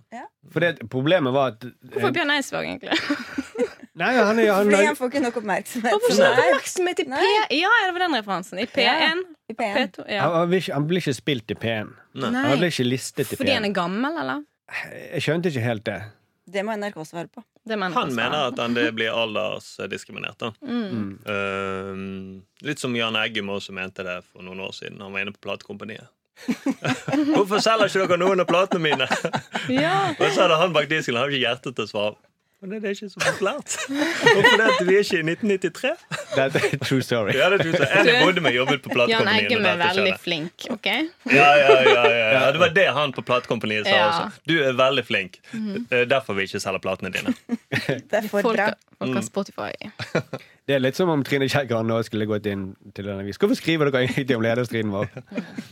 Speaker 2: For det, problemet var at
Speaker 3: Hvorfor Bjørn Eidsvåg, egentlig?
Speaker 2: Nei, han er han,
Speaker 5: Fordi
Speaker 2: er-
Speaker 5: han får ikke nok oppmerksomhet.
Speaker 3: Hvorfor
Speaker 5: for
Speaker 3: ikke
Speaker 5: meg.
Speaker 3: oppmerksomhet i P... Ja, det var den referansen. I P1,
Speaker 5: I P1.
Speaker 3: P2
Speaker 2: han,
Speaker 3: ja.
Speaker 2: han, blir ikke- han blir ikke spilt i P1.
Speaker 4: Nei.
Speaker 2: Han blir ikke listet i
Speaker 3: Fordi han
Speaker 2: P1.
Speaker 3: er gammel, eller?
Speaker 2: Jeg skjønte ikke helt det.
Speaker 5: Det må NRK svare på.
Speaker 3: Det mener
Speaker 4: Han mener
Speaker 3: svaret.
Speaker 4: at han det blir aldersdiskriminert. da
Speaker 3: mm.
Speaker 2: Mm.
Speaker 4: Ehm, Litt som Jan Eggum også mente det for noen år siden. Han var inne på platekompaniet. Hvorfor selger ikke dere noen av platene mine?
Speaker 3: Ja.
Speaker 4: Og så hadde han bak disken. Han har ikke hjerte til å svare. Men det er ikke så populært. Hvorfor det at vi er ikke i 1993?
Speaker 2: Dette er true story.
Speaker 4: Ja, det tror jeg. En jeg bodde med jobbet på
Speaker 3: Jan
Speaker 4: platekompaniet.
Speaker 3: Eggum
Speaker 4: når
Speaker 3: er
Speaker 4: dette
Speaker 3: veldig
Speaker 4: skjedde.
Speaker 3: flink, OK?
Speaker 4: Ja, ja, ja, ja, ja. Det var det han på platekompaniet sa
Speaker 3: Ja. Mhm.
Speaker 4: også. Du er veldig flink. Eh, Derfor vi ikke selger platene dine.
Speaker 5: Det er for
Speaker 3: Folk,
Speaker 5: bra.
Speaker 3: folk
Speaker 4: Mm.
Speaker 3: har Spotify.
Speaker 2: Det er litt som om Trine Skei Grande også skulle gått inn til en avis. Hvorfor skriver dere egentlig om lederstriden vår?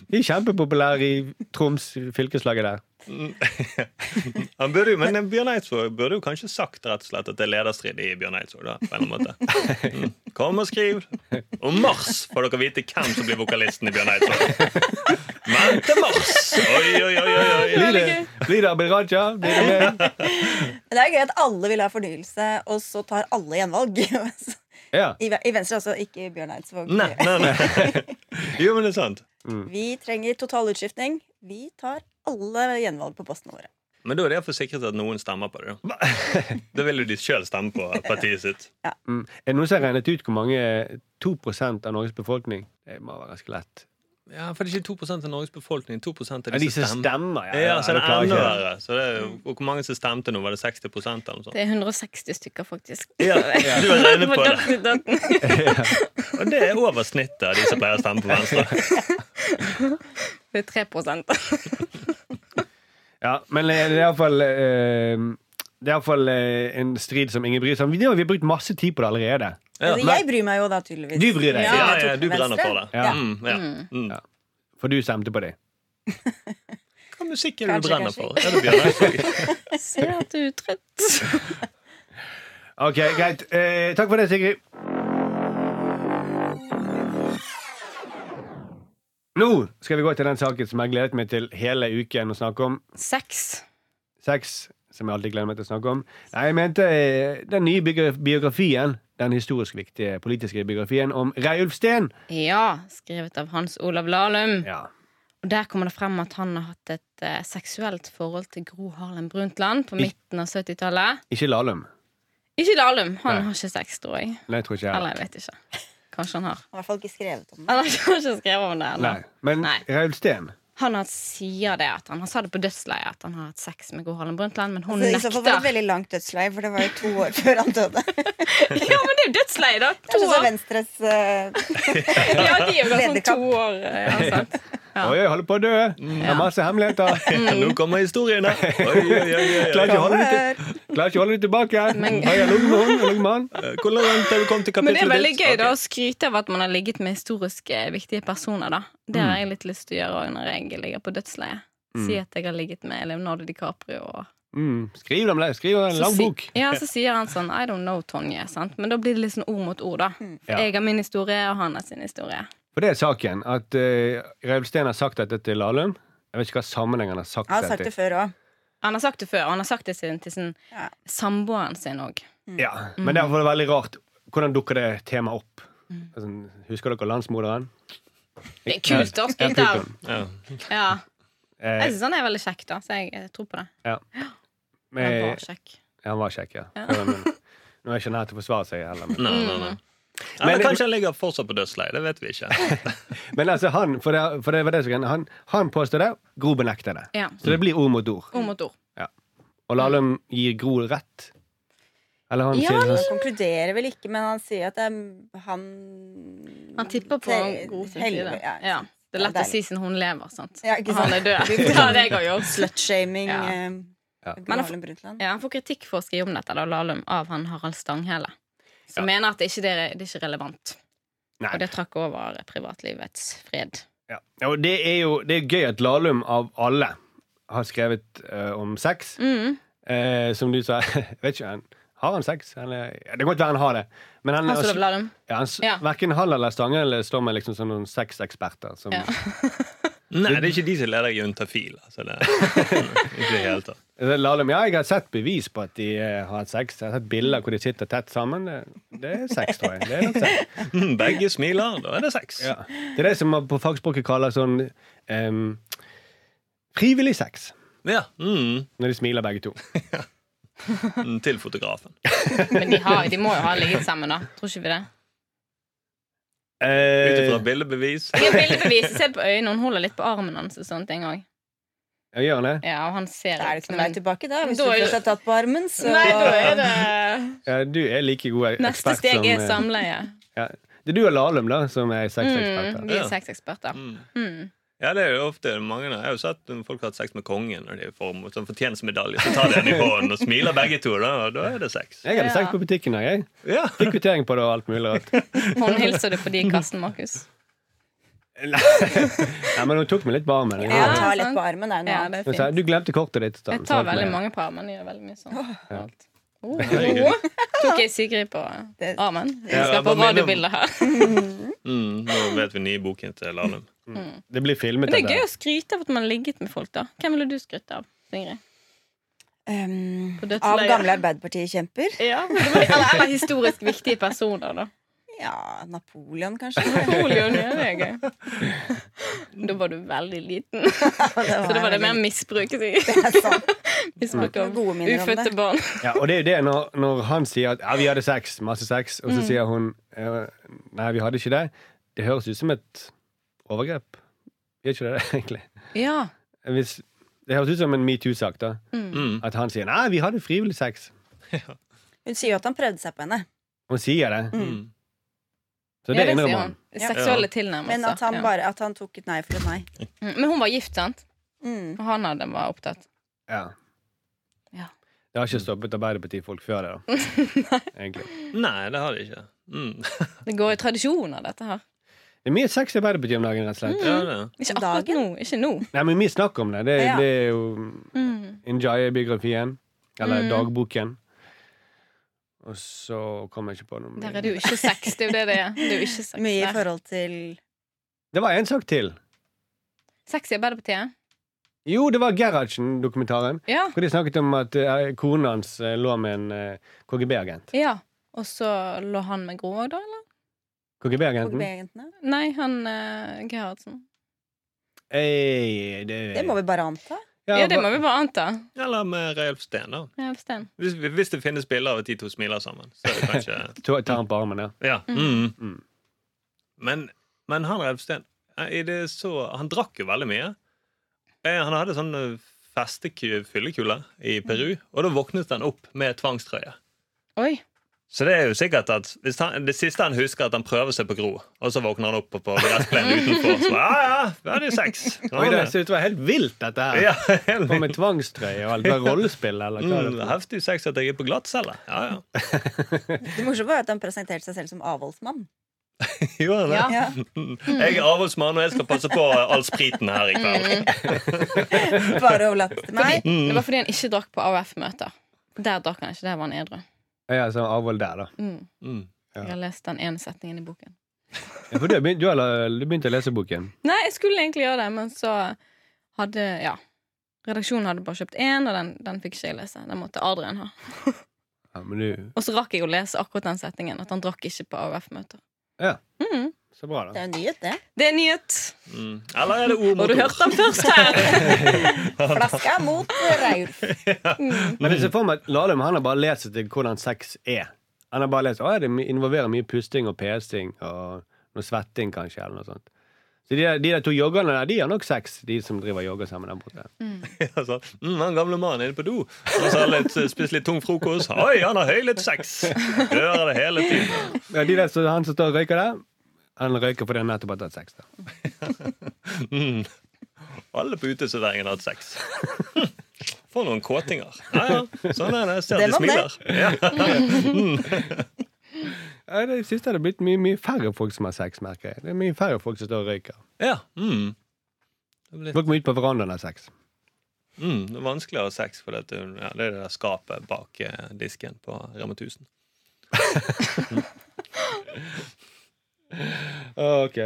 Speaker 2: Vi er kjempepopulære i Troms fylkeslaget der.
Speaker 4: Han burde jo, men eh, Bjørn Eidsvåg burde jo kanskje sagt rett og slett at det er lederstrid i Bjørn Eidsvåg. da, på en eller annen måte. Mm. Kom og skriv. Om mars får dere vite hvem som blir vokalisten i Bjørn Eidsvåg. Men til mars! Oi, oi, oi, oi, oi.
Speaker 2: Blir det, blir det Abid Raja? Blir det meg?
Speaker 5: Men det er gøy at alle vil ha fornyelse, og så tar alle gjenvalg.
Speaker 2: Ja.
Speaker 5: I Ve- i Venstre, altså. Ikke Bjørn Eidsvåg.
Speaker 4: Nei, nei, nei. Jo, men det er sant.
Speaker 5: Vi trenger total utskiftning. Vi tar alle gjenvalg på postene våre.
Speaker 4: Men da er det for sikret at noen stemmer på det. Da Da vil jo de sjøl stemme på partiet sitt.
Speaker 2: Mm. Er det noen som har regnet ut hvor mange 2 av Norges befolkning? Det må være ganske lett.
Speaker 4: Ja, for det er ikke 2 av Norges befolkning. 2 av
Speaker 2: Ja, de som stemmer, ja.
Speaker 4: Ja, så det
Speaker 2: du klarer
Speaker 4: er enda
Speaker 2: ikke det.
Speaker 4: verre. Så det er, jo- og hvor mange som stemte nå? Var det 60 eller noe sånt?
Speaker 3: Det er 160 stykker, faktisk.
Speaker 4: Ja, du er rene på det.
Speaker 3: Dagsnytt 18.
Speaker 4: Og det er over snittet av de som pleier å stemme på Venstre.
Speaker 3: Det er 3
Speaker 2: Ja, men det er iallfall eh, det er iallfall eh, en strid som ingen bryr seg om. Vi har vi har brukt masse tid på det allerede.
Speaker 4: Ja,
Speaker 5: altså, jeg bryr meg jo da tydeligvis.
Speaker 2: Du bryr deg.
Speaker 5: Ja,
Speaker 4: Ja,
Speaker 5: jeg
Speaker 4: ja,
Speaker 5: tok
Speaker 4: du
Speaker 5: med
Speaker 4: brenner
Speaker 5: Venstre.
Speaker 4: for det.
Speaker 2: Ja.
Speaker 4: Mm, ja. Mm.
Speaker 2: Ja. For du stemte på dem.
Speaker 4: Hva musikk er det du
Speaker 5: Kanskje,
Speaker 4: brenner
Speaker 5: kanskje.
Speaker 4: for? Er det Bjørnar?
Speaker 3: Ser at du er trøtt.
Speaker 2: Ok, greit. Eh, takk for det, Sigrid. Nå skal vi gå til den saken som jeg har gledet meg til hele uken å snakke om.
Speaker 3: Sex.
Speaker 2: Sex, som jeg alltid gleder meg til å snakke om. Nei, jeg mente eh, den nye biogra- biografien. Den historisk viktige politiske biografien om Reiulf Steen.
Speaker 3: Ja, skrevet av Hans Olav Lahlum.
Speaker 2: Ja.
Speaker 3: Og Der kommer det frem at han har hatt et eh, seksuelt forhold til Gro Harlem Brundtland på
Speaker 2: Ik-
Speaker 3: midten av 70-tallet.
Speaker 2: Ikke Lahlum.
Speaker 3: Ikke Lahlum. Han
Speaker 2: Nei.
Speaker 3: har ikke sex, tror jeg.
Speaker 2: Nei, jeg tror ikke jeg.
Speaker 3: Eller jeg vet ikke. Kanskje han har.
Speaker 5: Han har i hvert fall ikke skrevet om det.
Speaker 3: Eller han har ikke skrevet om det. ennå.
Speaker 2: Nei. Men
Speaker 3: Nei.
Speaker 2: Reiulf Steen.
Speaker 3: Han har, sier det at han, han sa det på dødsleiet at han har hatt sex med Gro Harlem Brundtland, men hun
Speaker 5: Så Altså, I så fall var det et
Speaker 3: nekter.
Speaker 5: veldig langt dødsleie, for det var jo to år før han døde.
Speaker 3: Ja, men det er jo dødsleie, da! To
Speaker 5: Kanskje så
Speaker 3: år.
Speaker 5: Venstres eh,
Speaker 3: Ja, de er jo sånn
Speaker 5: Lederkamp.
Speaker 3: to år. eh, Ja, sant. Ja.
Speaker 2: Oi, jeg holder på å dø! Jeg har masse hemmeligheter.
Speaker 4: Nå kommer historiene! Oi, oi, oi, oi, oi.
Speaker 2: Klarer ikke å holde meg til
Speaker 5: kommer.
Speaker 2: Klarer ikke å holde det tilbake.
Speaker 3: Men-
Speaker 2: Har jeg ligget med hun? Har jeg ligget med han?
Speaker 4: Eh, Hvor langt har du kommet i kapittelet
Speaker 3: Men det er veldig
Speaker 4: ditt?
Speaker 3: gøy
Speaker 4: Ok.
Speaker 3: da å skryte av at man har ligget med historisk eh, viktige personer. da Det har jeg litt lyst til å gjøre også når jeg ligger på dødsleiet. Si at jeg har ligget med Leonardo DiCaprio. Og
Speaker 2: Mm, skriv dem det. Skriv en
Speaker 3: Så
Speaker 2: lang
Speaker 3: si-
Speaker 2: bok.
Speaker 3: Ja, så sier han sånn I don't know, Tonje. Sant? Men da blir det litt sånn ord mot ord, da.
Speaker 5: Mm.
Speaker 2: Ja.
Speaker 3: Jeg har min historie, og han har sin historie.
Speaker 2: For det er saken at uh, Reiulf Steen har sagt dette til Lahlum. Jeg vet ikke hva sammenheng han har sagt
Speaker 5: Jeg har sagt
Speaker 2: dette
Speaker 5: det før òg.
Speaker 3: Han har sagt det før, og han har sagt det sin, til sin
Speaker 5: Ja.
Speaker 3: samboeren sin òg.
Speaker 2: Ja, Men derfor er det veldig rart. Hvordan dukker det temaet opp? Altså, husker dere landsmoderen?
Speaker 3: Det er kult, da,
Speaker 2: Jeg
Speaker 3: gutter.
Speaker 2: fikk den.
Speaker 4: Ja.
Speaker 3: Ja. Jeg
Speaker 2: Eh,
Speaker 3: syns han er veldig kjekk, da, så jeg, jeg tror på det. Han
Speaker 2: med,
Speaker 3: var kjekk.
Speaker 2: han var kjekk, ja. Men, nå er ikke han her til å forsvare seg heller. Men,
Speaker 4: Nei, nei, nei.
Speaker 2: Men-
Speaker 4: Eller kanskje han ligger fortsatt på dødsleiet. Det vet vi ikke.
Speaker 2: men altså, han, for det, for det var det som han, han påstår det, Gro benekter det.
Speaker 3: Ja.
Speaker 2: Så det blir ord mot ord.
Speaker 3: Ord mot ord.
Speaker 2: Og Lahlum gir Gro rett. Eller han
Speaker 3: Ja,
Speaker 2: sier sånn.
Speaker 5: Han konkluderer vel ikke, men han sier at det er han
Speaker 3: Han tipper på
Speaker 5: Te-
Speaker 3: Gro sin
Speaker 5: helve-
Speaker 3: side.
Speaker 5: ja.
Speaker 3: Ja. Det er lett å si siden hun lever, sant.
Speaker 5: Ja, ikke
Speaker 3: Og
Speaker 5: sant?
Speaker 3: han er død. Det hadde jeg også gjort.
Speaker 5: Slutshaming.
Speaker 3: Ja.
Speaker 5: eh,
Speaker 2: Ja.
Speaker 5: Gro
Speaker 3: Men han-
Speaker 5: Harlem Brundtland.
Speaker 3: Ja, han får kritikk for å skrive om dette da, Lahlum, av han Harald Stanghelle. Som mener at det ikke det er, det er ikke relevant.
Speaker 2: Nei.
Speaker 3: Og det trakk over privatlivets fred.
Speaker 2: Ja. Og det er jo det er gøy at Lahlum av alle har skrevet eh, om sex.
Speaker 3: Mm.
Speaker 2: Eh, som du sa, jeg vet ikke han, Har han sex? Eller, ja, det kan godt være han har det. Men han,
Speaker 3: Hans Olav Lahlum.
Speaker 2: ja, han, s-
Speaker 3: Ja.
Speaker 2: Verken han eller Stange eller står med liksom som noen sexeksperter. Som,
Speaker 3: Ja.
Speaker 4: Nei, det er ikke de som leder deg i untafil. Altså, det, ikke helt,
Speaker 2: Eh, Lahlum, ja, jeg har sett bevis på at de eh, har hatt sex. Jeg har sett bilder hvor de sitter tett sammen. Det, det er sex, tror jeg. Det er nok sex.
Speaker 4: Mm, Begge smiler, da er det sex.
Speaker 2: Ja. Det er det som man på fagspråket kaller sånn em, frivillig sex.
Speaker 4: Ja, Mm,
Speaker 2: Når de smiler begge to.
Speaker 4: mm, til fotografen.
Speaker 3: Men de, har, de må jo ha ligget sammen, da. Tror ikke vi det?
Speaker 4: Ut
Speaker 2: Eh,
Speaker 4: ifra bildebevis.
Speaker 3: Jeg har bildebevis. Se på øynene. Hun holder litt på armen hans og sånne ting òg.
Speaker 2: ja, gjør han det?
Speaker 3: Ja, og han ser
Speaker 5: Da er det
Speaker 3: ut
Speaker 5: ikke
Speaker 3: som
Speaker 5: noen vei
Speaker 3: en
Speaker 5: tilbake, da. Hvis
Speaker 3: Da
Speaker 5: du
Speaker 3: er det-
Speaker 5: først er tatt på armen, så
Speaker 3: Nei, da er det
Speaker 2: Ja, du er like god ekspert
Speaker 3: Neste steg er
Speaker 2: som eh,
Speaker 3: samleie.
Speaker 2: ja. Det er du og Lahlum, da, som er sexeksperter.
Speaker 3: Mm, vi er
Speaker 4: Ja.
Speaker 3: sexeksperter.
Speaker 4: Mm.
Speaker 3: Mm.
Speaker 4: Ja, det er jo ofte mange Jeg har jo sett folk har hatt sex med kongen når de får mot- sånn fortjenstmedalje. Så tar de den i hånden og smiler begge to, da, og da er det sex.
Speaker 2: Jeg hadde
Speaker 3: Ja.
Speaker 2: sex på butikken. da, Jeg.
Speaker 4: Ja.
Speaker 2: Fikk kvittering på det og alt mulig rart.
Speaker 3: Hun hilser du på de i kassen, Markus.
Speaker 2: Nei, men hun tok meg litt på armen.
Speaker 5: Ja,
Speaker 3: Ja,
Speaker 5: ta lett
Speaker 3: sant.
Speaker 5: på armen, det er noe
Speaker 3: Ja,
Speaker 5: annet.
Speaker 3: det er
Speaker 2: Hun sa Sånn
Speaker 3: fint.
Speaker 2: du glemte kortet ditt. da."
Speaker 3: Jeg
Speaker 2: Så
Speaker 3: tar
Speaker 2: alt
Speaker 3: veldig
Speaker 2: med-
Speaker 3: mange på armen. Jeg gjør veldig mye sånn.
Speaker 2: Ja.
Speaker 3: Alt. Oh.
Speaker 4: Herregud.
Speaker 3: Tok jeg Sigrid på
Speaker 5: Det-
Speaker 3: armen?
Speaker 4: Ja,
Speaker 3: Jeg skal på
Speaker 4: hva mener du?
Speaker 3: radiobilder her.
Speaker 4: Mm, nå vet vi nye boken til Lahlum.
Speaker 2: Det blir filmet.
Speaker 3: Men det er
Speaker 2: dette.
Speaker 3: gøy å skryte av at man har ligget med folk, da. Hvem ville du skryte av, Sigrid?
Speaker 5: Um,
Speaker 3: På dødsleiet.
Speaker 5: av gamle Arbeiderpartikjemper?
Speaker 3: Ja, eller, eller historisk viktige personer, da.
Speaker 5: Ja, Napoleon, kanskje.
Speaker 3: Napoleon, ja, det er gøy. Da var du veldig liten. Så da var det mer misbruk. sier jeg.
Speaker 5: Det er sant.
Speaker 3: Misbruk
Speaker 5: Jeg har
Speaker 3: av
Speaker 5: Gode minner om
Speaker 3: ufødte
Speaker 5: det.
Speaker 3: barn.
Speaker 2: Ja, og det er jo det når, når han sier at ja, vi hadde sex, masse sex, og så
Speaker 3: Mm.
Speaker 2: sier hun eh, nei, vi hadde ikke det. Det høres ut som et overgrep. Gjør ikke det det, egentlig?
Speaker 3: Ja.
Speaker 2: Hvis, det høres ut som en metoo-sak. da
Speaker 4: Mm.
Speaker 2: At han sier nei, vi hadde frivillig sex.
Speaker 5: Hun sier jo at han prøvde seg på henne,
Speaker 2: Hun sier det.
Speaker 4: Mm.
Speaker 2: Så
Speaker 3: Ja,
Speaker 2: det
Speaker 3: sier
Speaker 2: innrømmer
Speaker 3: hun.
Speaker 2: han.
Speaker 3: Seksuelle tilnærmelser.
Speaker 5: men at han,
Speaker 3: ja.
Speaker 5: bare, at han tok et nei for et nei.
Speaker 3: Mm, Men hun var gift, sant?
Speaker 5: Mm.
Speaker 3: Og han hadde var opptatt.
Speaker 2: Ja.
Speaker 3: Ja.
Speaker 2: Det har ikke stoppet Arbeiderpartifolk før det, da. Egentlig.
Speaker 4: Nei, det har de ikke. Mm.
Speaker 3: Det går i tradisjoner, dette her.
Speaker 2: Det er mye sex i Arbeiderpartiet om dagen, rett og slett.
Speaker 3: Mm.
Speaker 4: Ja, det.
Speaker 3: Ikke
Speaker 5: Om
Speaker 3: akkurat
Speaker 5: dagen?
Speaker 3: nå. Ikke nå.
Speaker 2: Nei, men mye snakk om det. Det,
Speaker 5: Ja.
Speaker 2: det er jo
Speaker 5: Mm.
Speaker 2: Injaya-biografien. Eller
Speaker 3: Mm.
Speaker 2: dagboken. Og så kom jeg ikke på noe mer.
Speaker 3: Der er det jo ikke sex. Det er jo det det er. Det er jo ikke sex
Speaker 5: Mye
Speaker 3: der.
Speaker 5: i forhold til
Speaker 2: Det var en sak til.
Speaker 3: Sex i Arbeiderpartiet?
Speaker 2: Jo, det var Gerhardsen-dokumentaren.
Speaker 3: Ja.
Speaker 2: Hvor de snakket om at eh, konen hans eh, lå med en eh, KGB-agent.
Speaker 3: ja. Og så lå han med Gro òg, da? Eller?
Speaker 2: KGB-agenten?
Speaker 5: KGB-jentene.
Speaker 3: Nei, han eh, Gerhardsen.
Speaker 2: Hey, det,
Speaker 5: Det må vi bare anta.
Speaker 3: Ja, det må vi bare anta.
Speaker 4: Eller med Reiulf Steen, da.
Speaker 3: Ja, Sten.
Speaker 4: Hvis, hvis det finnes bilder av at de to smiler sammen. Så er det kanskje
Speaker 2: Ta ta han på armen, ja.
Speaker 4: Ja. Mm.
Speaker 2: Mm.
Speaker 4: Men, men han Reiulf Steen eh, i det så, Han drakk jo veldig mye. Eh, Han hadde sånn eh, festeku- fyllekule i Peru, og da våknet han opp med tvangstrøye.
Speaker 3: Oi.
Speaker 4: Så det er jo sikkert at hvis han, Det siste han husker, er at han prøver seg på Gro, og så våkner han opp på- på gressplenen utenfor. Så, ja, ja, vi hadde jo sex. Ja,
Speaker 2: Oi, det
Speaker 4: det-
Speaker 2: ser ut til å være helt vilt, dette her.
Speaker 4: ja,
Speaker 2: På med
Speaker 4: helt-
Speaker 2: tvangstrøye og alt. Bare rollespill, eller hva er det
Speaker 4: Mm, heftig sex at jeg er på glattcelle. Ja, ja.
Speaker 5: Det morsomme var jo at han presenterte seg selv som avholdsmann.
Speaker 4: Gjorde han det?
Speaker 3: Ja.
Speaker 5: Ja.
Speaker 4: Mm. Jeg er avholdsmann, og jeg skal passe på all spriten her i kveld.
Speaker 5: Bare overlatt til meg.
Speaker 3: Det var fordi han ikke drakk på AUF-møter. Der drakk han ikke. Der var han edru.
Speaker 2: for? Ja, så avhold der, da.
Speaker 3: Mm.
Speaker 4: Mm.
Speaker 3: Jeg har lest den ene setningen i boken.
Speaker 2: Ja, for du har begynt- du har la- du begynte å lese boken.
Speaker 3: Nei, jeg skulle egentlig gjøre det, men så hadde Ja. Redaksjonen hadde bare kjøpt én, og den, den fikk ikke jeg lese. Den måtte Adrian ha.
Speaker 2: Ja, men du
Speaker 3: Og så rakk jeg å lese akkurat den setningen. At han drakk ikke på AUF-møter.
Speaker 2: Ja.
Speaker 3: Mm.
Speaker 2: Så bra,
Speaker 5: Det
Speaker 2: da.
Speaker 5: er jo en nyhet, det.
Speaker 3: Det er nyhet.
Speaker 4: Mm. Eller er det ord
Speaker 3: Og
Speaker 4: mot
Speaker 3: du
Speaker 4: ord?
Speaker 3: hørte den først her.
Speaker 5: Flaska mot Raulf.
Speaker 3: Mm.
Speaker 2: Men jeg ser for meg at Lahlum han har bare lest seg til hvordan sex er. Han har bare lest at det involverer mye pusting og pesing og noe svetting, kanskje. eller noe sånt. Så de der, de der to joggerne der, de har nok sex, de som driver og jogger sammen der borte.
Speaker 4: Ja, sånn. mm, han gamle mannen er inne på do. Og så har han litt, spist litt tung frokost. Oi, han har høylytt sex! Hører det hele tiden.
Speaker 2: Ja, de der, så han som står og røyker der, han røyker fordi han nettopp har tatt sex. da.
Speaker 4: Mm. Alle på uteserveringen har hatt sex. For noen kåtinger. Ja, ja. Sånn er det. Jeg ser at
Speaker 5: Det
Speaker 4: de
Speaker 5: var meg.
Speaker 4: smiler. Ja.
Speaker 2: Ja, det siste har det blitt mye, mye færre folk som har sex, merker jeg. Det er mye færre folk som står og røyker.
Speaker 4: Ja. Mm. Det blir-
Speaker 2: Folk må ut på verandaen og ha sex.
Speaker 4: Mm, det er vanskelig å ha sex, for dette, ja, det er det der skapet bak eh, disken på Rema 1000.
Speaker 2: Ah, Ok.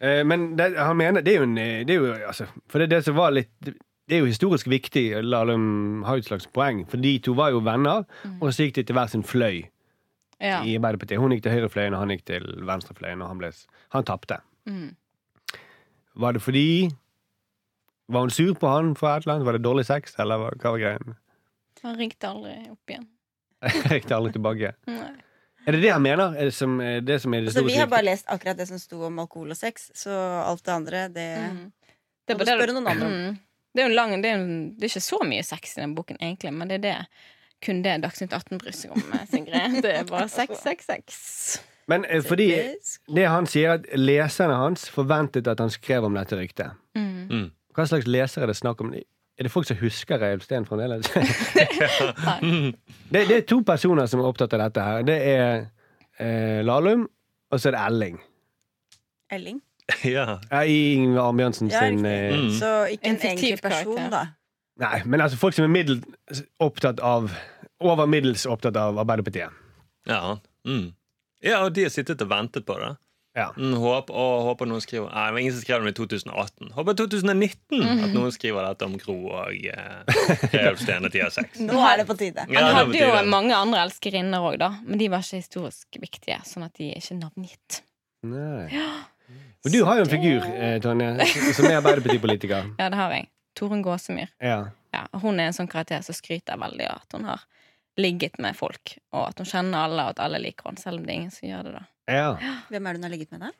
Speaker 2: Eh, men det, han mener Det er jo, en, eh, det er jo altså, For det er det som var litt Det er jo historisk viktig. Lahlum har jo et slags poeng, for de to var jo venner,
Speaker 5: Mm.
Speaker 2: og så gikk de til hver sin fløy
Speaker 3: Ja.
Speaker 2: i Arbeiderpartiet. Hun gikk til høyrefløyen, og han gikk til venstrefløyen, og han, ble s- han tapte.
Speaker 3: Mm.
Speaker 2: Var det fordi Var hun sur på han for et eller annet? Var det dårlig sex, eller hva hva var greien?
Speaker 3: Han ringte aldri opp igjen.
Speaker 2: Jeg gikk aldri tilbake.
Speaker 3: Nei.
Speaker 2: Er det det han mener? Er det som, er det som er det
Speaker 5: Altså, vi
Speaker 2: historisk
Speaker 5: har
Speaker 2: viktige?
Speaker 5: bare lest akkurat det som sto om alkohol og sex, så alt det andre, det
Speaker 3: Mm. Det
Speaker 5: Må du
Speaker 3: bare-
Speaker 5: spørre noen andre om.
Speaker 3: Mm. Det er jo en lang det er, jo en, det er ikke så mye sex i den boken, egentlig, men det er det kun det Dagsnytt 18 bryr seg om. Sigrid. Det er bare sex, sex, sex.
Speaker 2: Men eh, fordi
Speaker 5: Typisk.
Speaker 2: det han sier, er at leserne hans forventet at han skrev om dette ryktet.
Speaker 3: Mm.
Speaker 4: Mm.
Speaker 2: Hva slags lesere er det snakk om? Er det folk som husker Reiulf Steen fremdeles? det, det er to personer som er opptatt av dette her. Det er eh, Lahlum, og så er det Elling.
Speaker 5: Elling.
Speaker 4: Ja.
Speaker 2: Ja, I Ingve Arnbjørnsen
Speaker 5: Ja,
Speaker 2: sin
Speaker 5: riktig.
Speaker 2: eh,
Speaker 4: Mm.
Speaker 5: Så ikke
Speaker 3: En
Speaker 5: en enkel
Speaker 3: fiktiv
Speaker 5: person,
Speaker 3: karakter.
Speaker 5: da.
Speaker 2: Nei, men altså folk som er middel opptatt av Over middels opptatt av Arbeiderpartiet.
Speaker 4: Ja. Mm. ja, og de har sittet og ventet på det.
Speaker 2: Ja.
Speaker 4: Mm, håp, å, håper noen skriver Nei, det var ingen som skrev det i 2018. Håper 2019
Speaker 3: Mhm.
Speaker 4: at noen skriver dette om Gro og eh, Reulf Steen og Tia 6.
Speaker 5: Nå er det på tide.
Speaker 4: Ja, det
Speaker 3: Han hadde jo
Speaker 4: betyr det.
Speaker 3: mange andre elskerinner òg, da, men de var ikke historisk viktige, sånn at de er ikke navngitt.
Speaker 2: Nei. Og du har jo en figur, eh, Tonje, som er Arbeiderpartipolitiker.
Speaker 3: Ja, det har jeg. Torunn Gåsemyr.
Speaker 2: Ja.
Speaker 3: Ja, hun er en sånn karakter som skryter veldig av at hun har ligget med folk, og at hun kjenner alle, og at alle liker henne, selv om det er ingen som gjør det, da.
Speaker 2: ja.
Speaker 5: Hvem er det hun har ligget med, da?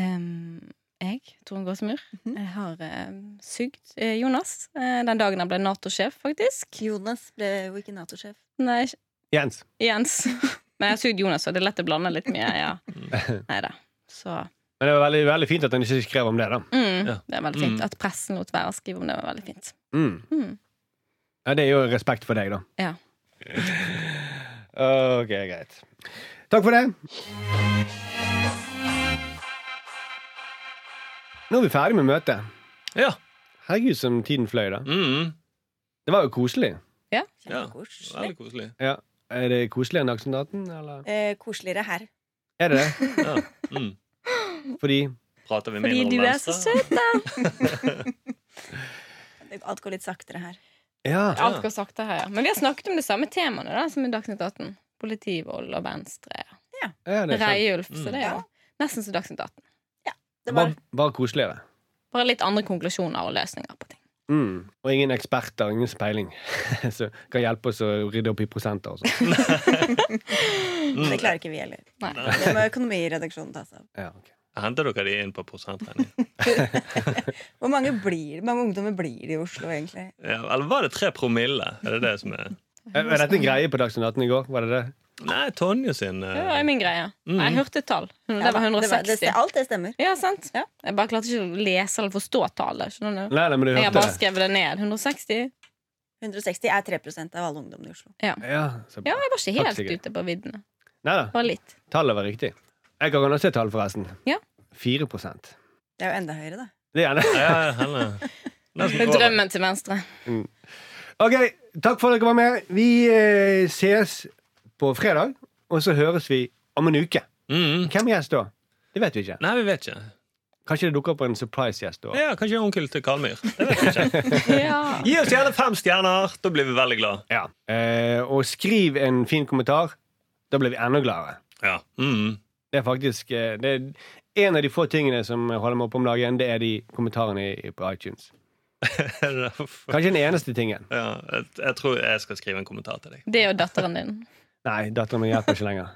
Speaker 3: Ehm, jeg, Torunn Gåsemyr,
Speaker 2: Mhm.
Speaker 3: jeg har ehm, sugd eh, Jonas eh, den dagen han ble Nato-sjef, faktisk.
Speaker 5: Jonas ble jo ikke Nato-sjef.
Speaker 3: Nei, ikke-
Speaker 2: Jens.
Speaker 3: Jens. Men jeg har sugd Jonas, og det er lett å blande litt mye. Ja. Nei da. Så
Speaker 2: Men det var veldig, veldig fint at han ikke skrev om det, da.
Speaker 3: mm,
Speaker 4: Ja.
Speaker 3: det er veldig fint. At pressen lot være å skrive om det, var veldig fint.
Speaker 2: Mm.
Speaker 3: Mm.
Speaker 2: Ja, det er jo respekt for deg, da.
Speaker 3: Ja.
Speaker 2: Ok, greit. Takk for det. Nå er vi ferdig med møtet.
Speaker 4: Ja.
Speaker 2: Herregud, som tiden fløy, da.
Speaker 4: Mm.
Speaker 2: Det var jo koselig.
Speaker 4: Ja.
Speaker 5: Kjempekoselig.
Speaker 4: Veldig koselig.
Speaker 2: Ja. Er det koseligere enn Dagsnytt 18, eller?
Speaker 5: Eh, koseligere her.
Speaker 2: Er det det?
Speaker 4: Ja. Mm.
Speaker 2: Fordi
Speaker 4: Prater vi
Speaker 3: Fordi
Speaker 4: mindre om
Speaker 3: du er
Speaker 4: venstre?
Speaker 3: så søt, da.
Speaker 5: Alt går litt saktere her.
Speaker 2: Ja.
Speaker 4: Ja.
Speaker 3: Alt går sakte her, ja. Men vi har snakket om de samme temaene da, som i Dagsnytt 18. Politivold og Venstre.
Speaker 2: ja det er sant.
Speaker 3: Reiulf.
Speaker 4: Mm.
Speaker 3: Så det er jo nesten som Dagsnytt 18.
Speaker 5: Det var
Speaker 2: Bare, bare koseligere.
Speaker 3: Bare litt andre konklusjoner og løsninger på ting.
Speaker 2: Mm. Og ingen eksperter, ingen speiling, som kan hjelpe oss å rydde opp i prosenter og sånn.
Speaker 5: Det klarer ikke vi heller.
Speaker 3: Nei.
Speaker 5: Det må økonomiredaksjonen ta seg av.
Speaker 2: Ja, ok.
Speaker 4: Henter dere de inn på prosentregning?
Speaker 5: Hvor mange, blir, hvor mange ungdommer blir det i Oslo, egentlig?
Speaker 4: Ja, eller var det tre promille? Er det det som er
Speaker 2: Er er dette en greie på Dagsnytt 18 i går? Var det det?
Speaker 4: Nei, Tonje sin eh,
Speaker 3: Det var jo min greie.
Speaker 4: Mm.
Speaker 3: Nei, jeg hørte et tall. Det var
Speaker 5: det,
Speaker 3: 160.
Speaker 5: alt det stemmer.
Speaker 3: Ja, sant?
Speaker 5: Ja.
Speaker 3: Jeg bare klarte ikke å lese eller forstå tallet. skjønner du?
Speaker 2: Nei, nei, men du
Speaker 3: Jeg har
Speaker 2: hørte
Speaker 3: bare
Speaker 2: det.
Speaker 3: skrevet det ned. 160?
Speaker 5: 160 er 3 av alle ungdommene i Oslo.
Speaker 2: Ja, så
Speaker 3: Ja,
Speaker 2: bra.
Speaker 3: jeg var ikke
Speaker 2: Takk,
Speaker 3: helt
Speaker 2: Sigrid.
Speaker 3: ute på viddene.
Speaker 2: Nei da,
Speaker 3: Bare litt.
Speaker 2: tallet var riktig. Jeg kan også se tall, forresten.
Speaker 3: Ja.
Speaker 2: 4
Speaker 5: Det er jo enda høyere, da.
Speaker 2: Det er det.
Speaker 4: Ja, ja, henne. Nesten
Speaker 3: Med
Speaker 4: over.
Speaker 3: drømmen til venstre.
Speaker 2: OK, takk for at dere var med. Vi eh, ses på fredag, og så høres vi om en uke.
Speaker 4: Mm.
Speaker 2: Hvem gjest da? Det vet vi ikke.
Speaker 4: Nei, vi vet ikke.
Speaker 2: Kanskje det dukker opp en surprise-gjest da.
Speaker 4: Ja, Kanskje onkel til Kalmyr. Det vet vi ikke.
Speaker 3: Ja.
Speaker 4: Gi oss gjerne fem stjerner. Da blir vi veldig glad.
Speaker 2: Ja. Eh, og skriv en fin kommentar. Da blir vi enda gladere.
Speaker 4: Ja. Mm.
Speaker 2: Det er faktisk eh, det er en av de få tingene som holder meg oppe om dagen, det er de kommentarene i- på iTunes. Kanskje den eneste tingen.
Speaker 4: ja, jeg, jeg tror jeg skal skrive en kommentar til deg.
Speaker 3: Det er jo datteren din.
Speaker 2: Nei, datteren min hjelper ikke lenger.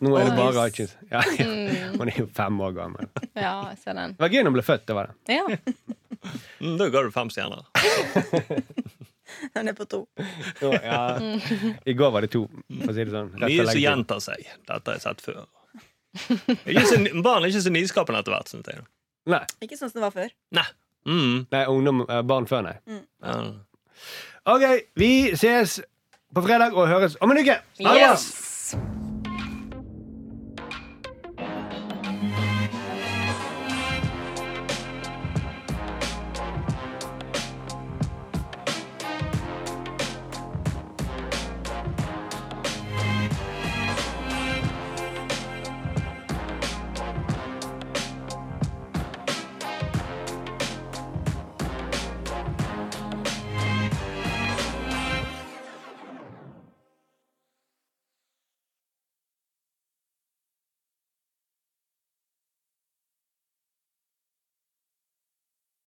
Speaker 2: Nå er det bare
Speaker 5: Åh.
Speaker 2: iTunes. Ja, ja.
Speaker 3: Mm.
Speaker 2: Hun er jo fem år gammel. Det
Speaker 3: Ja, jeg ser den.
Speaker 2: var gøy når hun ble født. det var det.
Speaker 3: Ja.
Speaker 4: Mm, da ga du fem stjerner.
Speaker 5: Den er på to.
Speaker 2: Nå, ja. I går var det to, for å si det sånn. Rett
Speaker 4: Mye
Speaker 2: og
Speaker 4: som
Speaker 2: slett.
Speaker 4: gjentar seg. Dette har jeg sett før. Ikke så, barn er ikke så nyskapende etter hvert. Synes jeg.
Speaker 2: Nei,
Speaker 5: Ikke sånn som det var før.
Speaker 4: Nei. Mm.
Speaker 2: nei ungdom, eh, barn før, nei.
Speaker 3: Mm.
Speaker 4: Ja.
Speaker 2: OK, vi ses på fredag og høres om en uke! Ha det bra!
Speaker 3: Yes.